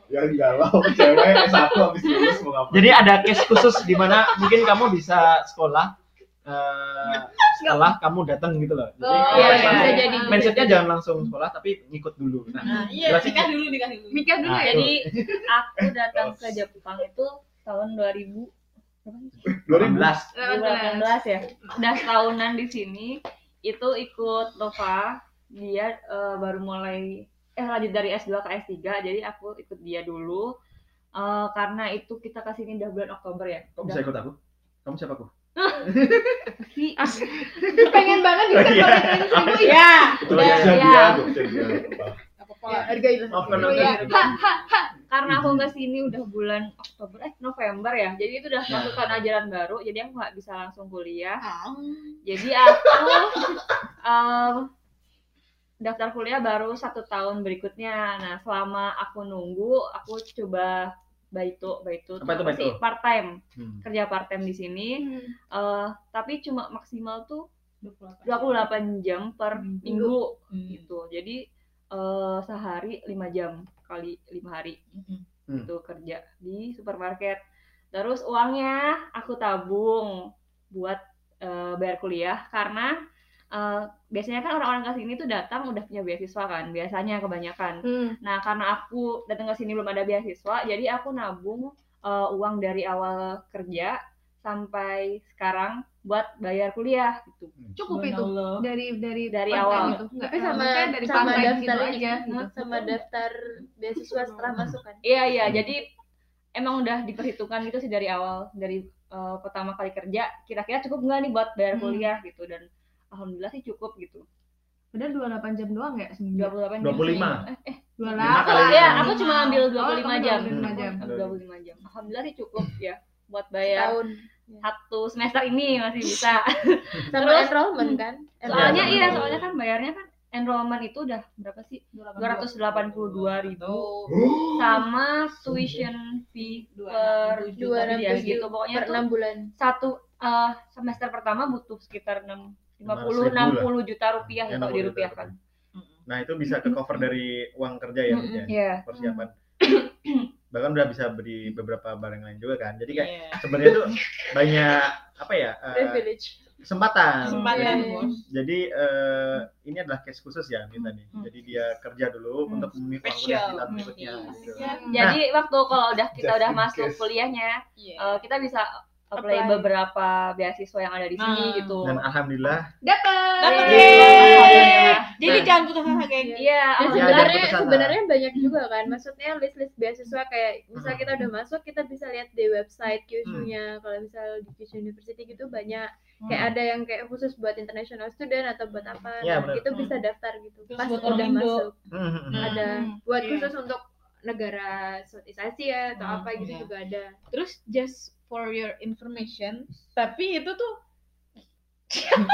S7: yang galau cewek satu habis lulus mau ngapain
S2: Jadi ada case khusus di mana mungkin kamu bisa sekolah eh, setelah kamu datang gitu loh. Jadi
S1: Oh,
S2: kamu harus
S5: iya, iya.
S2: langsung-
S5: Bisa
S1: jadi.
S2: mindsetnya jangan langsung sekolah tapi ngikut dulu. Nah,
S6: Nah, iya,
S2: Berarti-
S1: kan.
S6: nikah dulu, nikah dulu.
S1: Nikah dulu
S2: Nah,
S1: ya.
S5: Jadi aku datang ke Jepang itu tahun 2000
S2: 2018.
S4: Iya,
S1: 18.
S5: 2018 ya. Udah setahunan di sini itu ikut Nova dia eh, baru mulai eh lanjut dari S2 ke S3 jadi aku ikut dia dulu Eh, karena itu kita kesini udah bulan Oktober ya.
S2: Kok bisa ikut aku? Kamu siapa aku?
S5: Tapi-
S1: Pengen banget
S2: Oh,
S1: bisa
S2: iya.
S1: pakai tenis ibu ya.
S5: ya,
S7: Udah
S5: udah,
S7: bisa
S5: ya.
S7: dia, bisa dia.
S1: Ya, hargai lah.
S2: Maafkan
S1: Oh,
S2: aku.
S1: iya. Ha, ha.
S5: karena aku
S2: Mm-hmm.
S5: ke sini udah bulan Oktober eh November ya. Jadi itu udah masuk tahun ajaran baru jadi aku nggak bisa langsung kuliah.
S2: Ah.
S5: Jadi aku em, daftar kuliah baru satu tahun berikutnya. Nah, selama aku nunggu, aku coba baitu, baitu
S2: Apa itu baitu?
S5: sih? Part time,
S2: Hmm.
S5: kerja part time di sini. Eh, tapi cuma maksimal tuh 28 jam per minggu, gitu. Jadi eh, sehari 5 jam kali 5 hari
S2: Hmm.
S5: itu kerja di supermarket. Terus uangnya aku tabung buat eh, bayar kuliah karena eh, biasanya kan orang-orang ke sini tuh datang udah punya beasiswa kan, biasanya kebanyakan.
S1: Hmm.
S5: Nah, karena aku datang ke sini belum ada beasiswa, jadi aku nabung eh, uang dari awal kerja sampai sekarang buat bayar kuliah gitu.
S1: Cukup itu. Dari dari
S5: Dari
S1: pantai
S5: awal.
S1: gitu. Enggak,
S4: tapi sama
S1: maksudnya dari
S4: sama
S1: pantai gitu
S4: daftar
S1: aja.
S4: ini, sama daftar beasiswa setelah masuk kan
S5: Iya iya, jadi emang udah diperhitungkan gitu sih dari awal dari eh, pertama kali kerja kira-kira cukup nggak nih buat bayar
S1: Hmm.
S5: kuliah gitu dan alhamdulillah sih cukup gitu.
S1: Padahal 28 jam doang ya seminggu.
S5: 28 jam
S2: 25.
S5: sih. Eh, eh,
S1: 28.
S2: Lima kali.
S5: ya, aku cuma ambil
S1: Oh,
S5: 25
S1: kamu
S5: jam.
S1: 25 jam.
S5: Aku 25 jam. Alhamdulillah sih cukup ya. buat bayar
S4: tahun
S5: satu semester ini masih bisa.
S4: sama
S5: Terus-
S4: enrollment kan
S1: eh,
S2: Enrollment.
S5: soalnya iya, soalnya kan bayarnya kan enrollment itu udah berapa sih? 282.000 ribu sama tuition fee
S4: Dua
S5: per juta
S4: ratus
S5: gitu.
S4: per
S5: Pokoknya tuh
S4: enam bulan
S5: satu eh, semester pertama butuh sekitar 6
S2: 500.000
S5: 50
S2: lah.
S5: 60 juta rupiah ya, kalau dirupiahkan.
S2: Nah, itu bisa ke cover dari uang kerja ya,
S5: Mm-mm,
S2: Bun, ya?
S5: Iya.
S6: Hmm.
S2: persiapan. Bahkan udah bisa beri beberapa barang lain juga kan. Jadi kayak
S6: Iya.
S2: sebenarnya tuh banyak apa ya? eh,
S4: privilege Iya.
S2: kesempatan.
S6: Kesempatan,
S2: Jadi,
S6: Bos.
S2: jadi, eh, ini adalah case khusus ya kita nih. Jadi dia kerja dulu
S5: Hmm.
S2: untuk memenuhi uang kuliah
S6: Hmm. Special.
S2: kita berikutnya.
S6: Iya.
S2: gitu.
S5: Jadi waktu kalau udah kita
S7: Just
S5: udah
S7: in
S5: masuk
S7: case.
S5: kuliahnya,
S6: Iya.
S5: eh, kita bisa apply,
S4: Apply.
S5: beberapa beasiswa yang ada di sini
S6: Nah.
S5: gitu.
S2: Dan alhamdulillah
S1: Dapat.
S6: Dapet,
S4: Iya.
S5: Yeay.
S2: Iya,
S6: yeay. Jadi
S2: Nah.
S6: jangan putus asa, gitu.
S5: Iya,
S6: geng.
S4: Dan
S2: Jangan
S4: sebenarnya
S2: putus asa.
S4: sebenarnya banyak juga kan maksudnya list list beasiswa kayak misal kita udah masuk kita bisa lihat di website
S2: Hmm.
S4: QSU-nya kalau misal di QSU University gitu banyak
S5: Hmm.
S4: kayak ada yang kayak khusus buat international student atau buat apa
S2: Iya,
S4: Nah,
S2: benar.
S4: itu bisa daftar gitu
S6: Terus
S4: pas
S6: buat
S4: udah
S6: orang Indo.
S4: masuk
S2: Hmm.
S4: ada
S6: Hmm.
S4: buat
S6: Iya.
S4: khusus untuk negara Southeast Asia atau
S6: Hmm,
S4: apa gitu
S6: iya.
S4: juga ada
S6: Terus just for your information, tapi itu tuh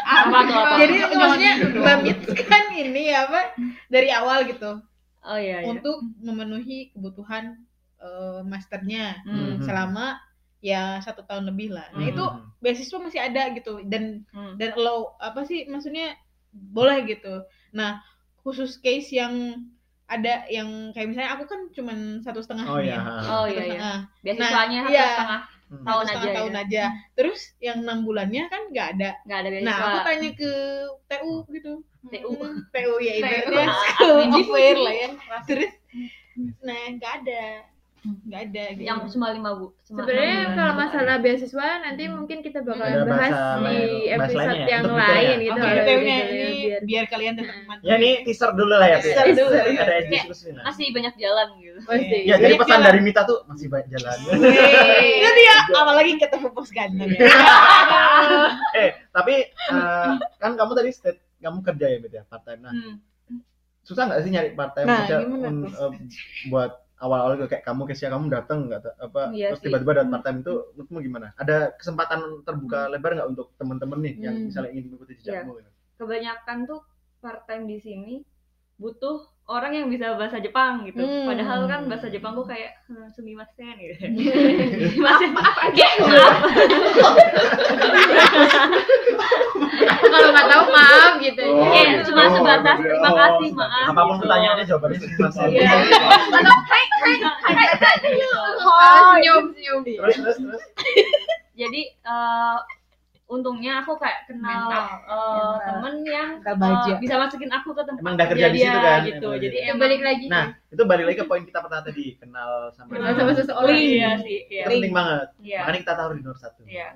S5: apa tuh apa?
S6: jadi
S1: Jangan
S6: maksudnya
S1: gitu dong.
S6: Mbak Mits kan ini apa dari awal gitu
S5: Oh iya iya.
S6: untuk memenuhi kebutuhan eh, masternya
S5: Hmm.
S6: selama ya satu tahun lebih lah. Nah itu
S2: Hmm.
S6: beasiswa masih ada gitu dan
S5: Hmm.
S6: dan allow apa sih maksudnya boleh gitu. Nah khusus case yang ada yang kayak misalnya aku kan cuman satu setengah
S2: Oh
S6: nih
S2: ya.
S6: ya.
S5: Oh iya
S6: Satu
S5: iya.
S6: setengah.
S5: Beasiswanya
S6: Nah,
S5: satu
S6: iya.
S5: setengah
S2: Hmm.
S5: tahun
S6: Satu setengah
S5: aja. ya.
S6: tahun aja. Terus yang enam bulannya kan nggak ada.
S5: Nggak ada beasiswa.
S6: Nah aku tanya ke TU gitu.
S5: TU.
S6: Hmm, TU ya ibaratnya
S5: TU.
S6: school of air lah ya. Terus nah nggak ada nggak ada
S2: Iya.
S6: gitu.
S5: yang cuma lima bu. cuma
S4: sebenarnya
S5: enam bulan. gitu.
S4: kalau masalah beasiswa nanti mungkin kita
S2: Ada
S4: bakalan
S2: bahasa
S4: bahas di
S2: lain- bahasa
S4: episode
S2: lainnya ya,
S4: yang
S2: untuk detail
S4: lain
S2: ya.
S4: gitu
S6: Oke,
S4: kalau gitu
S6: TU-nya
S4: ya,
S6: ini
S4: biar
S6: biar Nah. kalian tetap mantap.
S2: Ya ini teaser dulu lah ya. Pi.
S6: Teaser dulu.
S2: Ada
S6: Kayak-
S2: diskusi nah.
S5: masih banyak jalan gitu.
S4: pasti
S2: Ya, jadi
S6: Jadi
S2: pesan
S6: jalan.
S2: dari Mita tuh masih banyak jalan.
S6: Wey, Itu dia, apalagi ketemu bos ganteng ya.
S2: Iya. eh, tapi eh, kan kamu tadi state kamu kerja ya, Bet ya, part time. Nah,
S5: Hmm.
S2: susah nggak sih nyari part time
S6: Nah,
S2: Maksudnya,
S6: gimana
S2: un-
S6: tuh?
S2: eh, buat awal-awal kayak kamu Kesia kamu datang nggak ta- apa
S5: Iya
S2: terus
S5: sih.
S2: tiba-tiba dapat part time itu menurutmu gimana? Ada kesempatan
S5: Hmm.
S2: terbuka lebar nggak untuk teman-teman nih yang
S4: Hmm.
S2: misalnya ingin
S5: Iya.
S2: mengikuti jejakmu? gitu?
S5: Kebanyakan tuh part time di sini butuh orang yang bisa bahasa Jepang gitu.
S6: Hmm.
S5: Padahal kan bahasa Jepang gue kayak hmm, sumimasen gitu.
S4: kalau nggak tahu maaf gitu
S7: Oh,
S5: Oke,
S7: gitu.
S5: cuma sebatas terima
S7: Oh,
S5: kasih, maaf.
S2: Apapun
S5: gitu.
S2: pertanyaannya jawabannya sih Mas.
S5: Iya.
S4: Ah, senyum senyum
S2: Terus terus terus.
S5: Jadi eh, untungnya aku kayak kenal
S6: Mental.
S5: eh,
S6: Mental.
S5: temen yang
S6: Kita
S5: eh,
S6: baja.
S5: bisa masukin aku ke tempat
S2: Emang udah kerja di
S5: dia
S2: situ kan?
S5: gitu.
S2: Emang
S5: Jadi
S2: udah.
S5: emang
S4: Ya, balik lagi
S2: Nah, itu balik lagi ke poin kita pertama tadi, kenal sama
S4: Kenal sama seseorang.
S5: Iya sih, iya.
S2: Itu penting banget.
S5: Iya.
S2: Makanya kita tahu di nomor satu.
S5: Iya.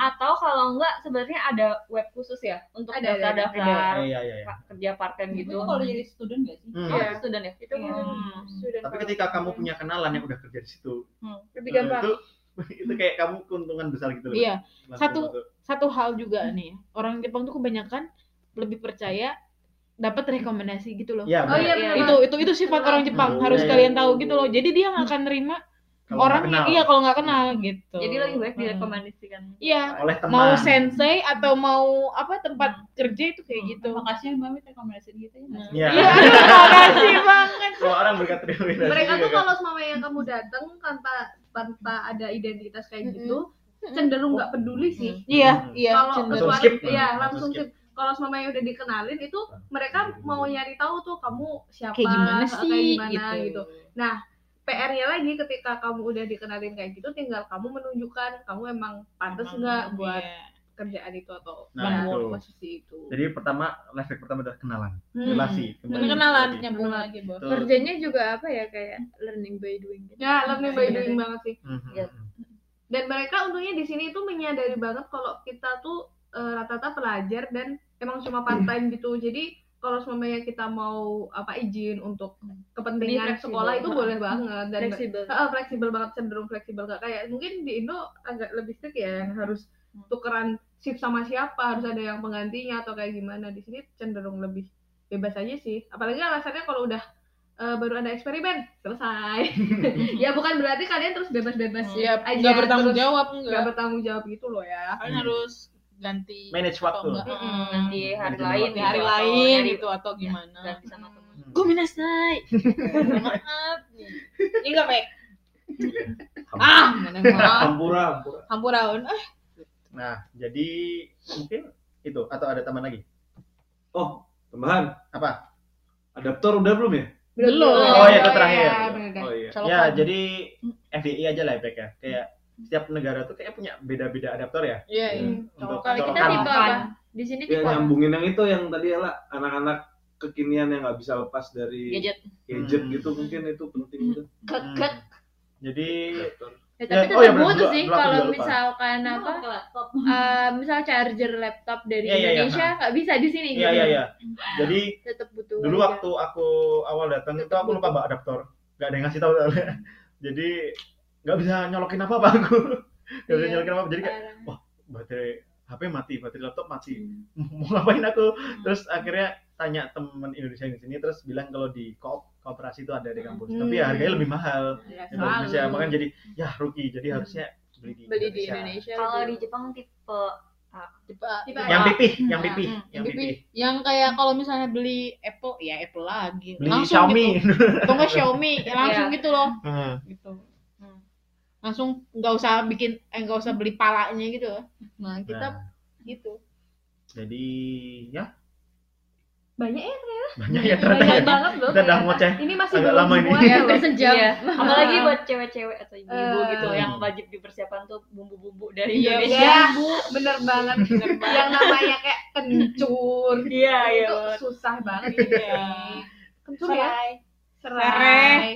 S5: Atau kalau enggak sebenarnya ada web khusus ya untuk
S4: Ada, ada,
S2: Oh,
S5: daftar-daftar
S2: iya iya iya.
S5: pa- kerja part time gitu.
S6: Itu kalau jadi student gak sih?
S2: Hmm.
S5: Oh,
S4: Iya.
S5: student ya.
S4: itu kan
S5: Hmm.
S4: student
S2: Tapi
S4: kalau
S2: ketika
S4: gitu.
S2: kamu
S5: Iya.
S2: punya kenalan yang udah kerja di situ,
S4: lebih
S2: eh,
S4: gampang
S2: itu itu kayak kamu keuntungan besar gitu loh.
S6: Iya,
S2: Langsung
S6: Satu-
S2: masuk.
S6: satu hal juga nih. Orang Jepang tuh kebanyakan lebih percaya dapat rekomendasi gitu loh.
S2: Iya,
S4: oh iya
S5: Iya.
S4: benar
S6: Itu itu itu sifat orang
S2: Oh.
S6: Jepang, harus kalian tahu gitu loh. Jadi dia nggak akan nerima
S2: Kalau
S6: orang
S2: nggak
S6: yang
S2: kenal.
S6: iya kalau nggak kenal gitu.
S5: Jadi lebih baik
S6: Hmm.
S5: direkomendasikan.
S6: Iya.
S2: oleh teman.
S6: Mau sensei atau mau apa tempat kerja itu
S5: Hmm.
S6: kayak gitu.
S5: Makasih Mbak Mit rekomendasiin gitu ya.
S2: Iya.
S6: Iya, terima kasih banget.
S2: Semua orang berkategori.
S1: Mereka tuh
S2: kan.
S1: kalau selama yang kamu datang tanpa tanpa ada identitas kayak
S4: Mm-mm.
S1: gitu cenderung nggak peduli sih.
S2: Hmm.
S6: Iya, iya.
S4: Ya,
S1: Kalau
S2: Langsung
S1: suara-
S2: skip.
S1: iya,
S2: Langsung
S1: langsung
S2: skip. Nah.
S1: skip. Kalau selama yang udah dikenalin itu mereka mau nyari tahu tuh kamu siapa,
S6: Kayak gimana
S1: kayak
S6: sih
S1: gimana, gitu. PR-nya lagi ketika kamu udah dikenalin kayak gitu tinggal kamu menunjukkan kamu emang pantas nggak buat kerjaan itu atau
S2: Nah,
S1: ya,
S2: itu.
S1: posisi itu.
S2: Jadi pertama life hack pertama adalah kenalan,
S1: Hmm.
S2: relasi, kembali.
S6: Kenalan
S2: Jadi,
S6: nyambung lagi, Bos.
S2: itu-
S4: kerjanya juga apa ya kayak learning by doing gitu
S1: Ya, lebih by doing banget sih.
S2: Mhm.
S5: Iya.
S1: Dan mereka untungnya di sini itu menyadari banget kalau kita tuh eh, rata-rata pelajar dan emang cuma part time gitu. Jadi kalau semuanya kita mau apa izin untuk
S4: Lebih
S1: kepentingan
S4: fleksibel.
S1: sekolah itu boleh banget dan
S4: fleksibel
S1: Heeh, fleksibel banget cenderung fleksibel Nggak kayak mungkin di Indo agak lebih strict ya yang harus
S6: Hmm.
S1: tukeran shift sama siapa harus ada yang penggantinya atau kayak gimana di sini cenderung lebih bebas aja sih apalagi alasannya kalau udah eh, baru ada eksperimen selesai ya bukan berarti kalian terus bebas-bebas
S6: Iya,
S1: aja,
S6: nggak bertanggung
S1: terus
S6: jawab
S1: nggak
S6: enggak.
S1: bertanggung jawab gitu loh ya
S6: Kalian harus ganti
S2: Hmm. Manage
S6: atau
S2: waktu.
S6: enggak,
S1: Mm-mm.
S6: mm,
S5: di Hmm, hari
S2: Mungkin
S5: lain
S6: di hari
S5: gitu, atau
S6: lain
S5: nyari-
S6: gitu atau gimana
S5: ganti sama temen
S2: hmm.
S6: gue minasai maaf ini nggak baik ah maaf.
S7: Hampura, hampura.
S6: hampuraun ah
S2: Nah, jadi mungkin itu atau ada teman lagi?
S7: Oh, tambahan.
S2: Apa?
S7: Adaptor udah
S6: Eh,
S7: belum ya?
S6: Belum.
S2: Oh, iya, itu terakhir.
S1: bener.
S7: Oh iya.
S2: Ya, jadi FDI aja lah ya. Kayak setiap negara tuh kayak punya beda-beda adaptor ya.
S6: iya iya.
S2: Untuk
S6: Colokan.
S4: Kita
S2: colokan.
S4: tipe apa? Di
S2: Iya,
S4: sini
S7: Ya
S4: tipe apa?
S7: nyambungin yang itu yang tadi ya lah anak-anak kekinian yang nggak bisa lepas dari
S5: gadget
S7: gadget
S2: Hmm.
S7: gitu mungkin itu penting itu.
S2: Hmm. Jadi
S7: Adaptor.
S4: Ya, tapi
S2: Ya,
S4: tetap
S2: oh ya, benar,
S4: butuh
S2: gua-
S4: sih
S2: gua- gua
S4: kalau
S2: lupa.
S4: misalkan apa eh, misal charger laptop dari
S2: Iya, iya, iya.
S4: Indonesia nggak bisa di sini
S2: iya
S4: gitu.
S2: iya iya. Jadi
S4: Tetap butuh.
S2: dulu
S4: aja.
S2: waktu aku awal datang itu aku lupa bawa adaptor. Gak ada yang ngasih tahu soalnya. Jadi nggak bisa nyolokin apa-apa aku. Gak bisa
S4: Iya.
S2: nyolokin apa-apa. Jadi kayak
S4: Parah.
S2: baterai HP mati, baterai laptop mati. Mau ngapain aku? Terus akhirnya tanya temen Indonesia yang di sini terus bilang kalau di koop kooperasi itu ada di kampus. Tapi ya harganya lebih mahal
S1: Ya,
S2: di Indonesia.
S1: selalu.
S2: Makanya jadi ya rugi. Jadi harusnya beli di
S4: Beli di Indonesia.
S5: kalau di
S4: lebih-
S5: Jepang tipe
S6: tipe
S4: Tipe
S2: Yang pipih, yang pipih,
S6: Mm,
S2: yang
S6: pipih.
S2: pipih.
S6: yang kayak kalau misalnya beli Apple ya Apple lagi
S2: Beli Xiaomi. Nah,
S6: gitu. atau nggak Xiaomi ya langsung
S5: Iya.
S6: gitu loh
S2: Heeh.
S6: gitu Hmm. langsung nggak usah bikin eh, nggak usah beli palanya gitu loh. nah kita
S2: Nah,
S6: gitu
S2: jadi ya
S1: banyak ya
S2: banyak ya ternyata ya.
S1: banyak banget loh
S2: Kita udah
S1: ternyata.
S2: ngoceh.
S1: ini masih
S2: Agak
S1: belum
S2: lama ini.
S1: semuanya loh.
S4: Sejam.
S5: Iya. apalagi buat cewek-cewek atau ibu-ibu
S1: Eh.
S5: gitu yang wajib dipersiapkan tuh bumbu-bumbu dari Indonesia
S1: Iya, bu, bener banget. Yang namanya kayak kencur.
S5: iya iya
S1: itu
S5: banget.
S1: susah banget.
S6: Iya.
S1: Kencur ya? Serai.
S6: Serai.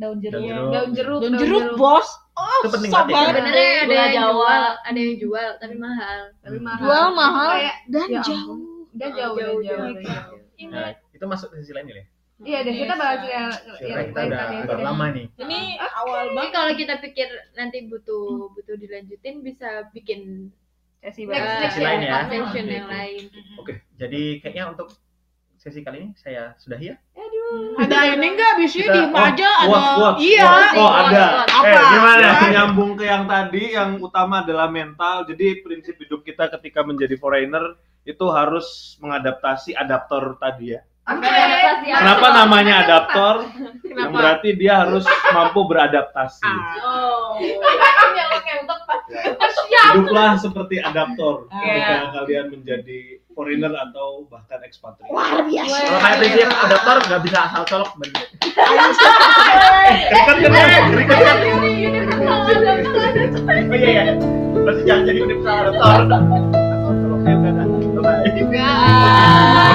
S6: daun
S1: ya,
S2: Daun
S6: jeruk
S2: jeruk.
S1: Daun jeruk.
S6: daun jeruk bos oh
S2: Itu penting
S6: susah
S2: banget ya.
S6: banget
S4: Sebenarnya ada
S5: Gula
S4: yang
S5: Jawa.
S4: jual, ada yang jual tapi mahal.
S1: Tapi
S2: Hmm.
S1: mahal.
S6: jual mahal
S1: Kayak,
S6: dan
S1: ya ampun.
S6: jauh
S1: Udah jauh, udah
S4: Jauh,
S1: jauh.
S4: jauh,
S1: udah
S4: jauh.
S1: jauh.
S2: Nah, itu masuk ke sisi lain ya.
S1: Iya deh, kita
S6: Biasa.
S1: bahas yang yang
S2: Sebenarnya kita
S1: lain
S2: udah
S1: kali ya.
S2: agak lama nih.
S6: ini awal
S4: Tapi
S6: banget
S4: kalau kita pikir nanti butuh butuh dilanjutin bisa bikin
S5: sesi
S4: eh,
S5: banget
S2: Next sesi lain ya.
S4: part section yang lain.
S2: Jadi kayaknya untuk sesi kali ini saya sudahi ya.
S6: ada ini nggak bisa
S2: Kita-
S6: di aja ada
S7: quote, quote,
S6: iya
S7: quote. Oh, ada.
S6: apa
S2: Eh, gimana?
S7: Yang menyambung ke yang tadi, yang utama adalah mental. Jadi prinsip hidup kita ketika menjadi foreigner itu harus mengadaptasi adaptor tadi ya.
S1: Oke.
S4: Adaptasi,
S1: Iya.
S5: Ya,
S7: Kenapa
S4: adaptasi.
S7: namanya adaptor? Yang
S6: kenapa
S7: berarti dia harus mampu beradaptasi. Ya.
S5: oh
S7: Hiduplah seperti adaptor ketika
S5: Iya.
S7: kalian menjadi foreigner atau bahkan ekspatriat.
S2: Kalau kayak prinsip adaptor nggak bisa asal colok bener. Kan kan kan. Oh iya ya. ya, gitu, Berarti jangan jadi universal adaptor. Asal colok saya udah. Bye.
S6: Ah.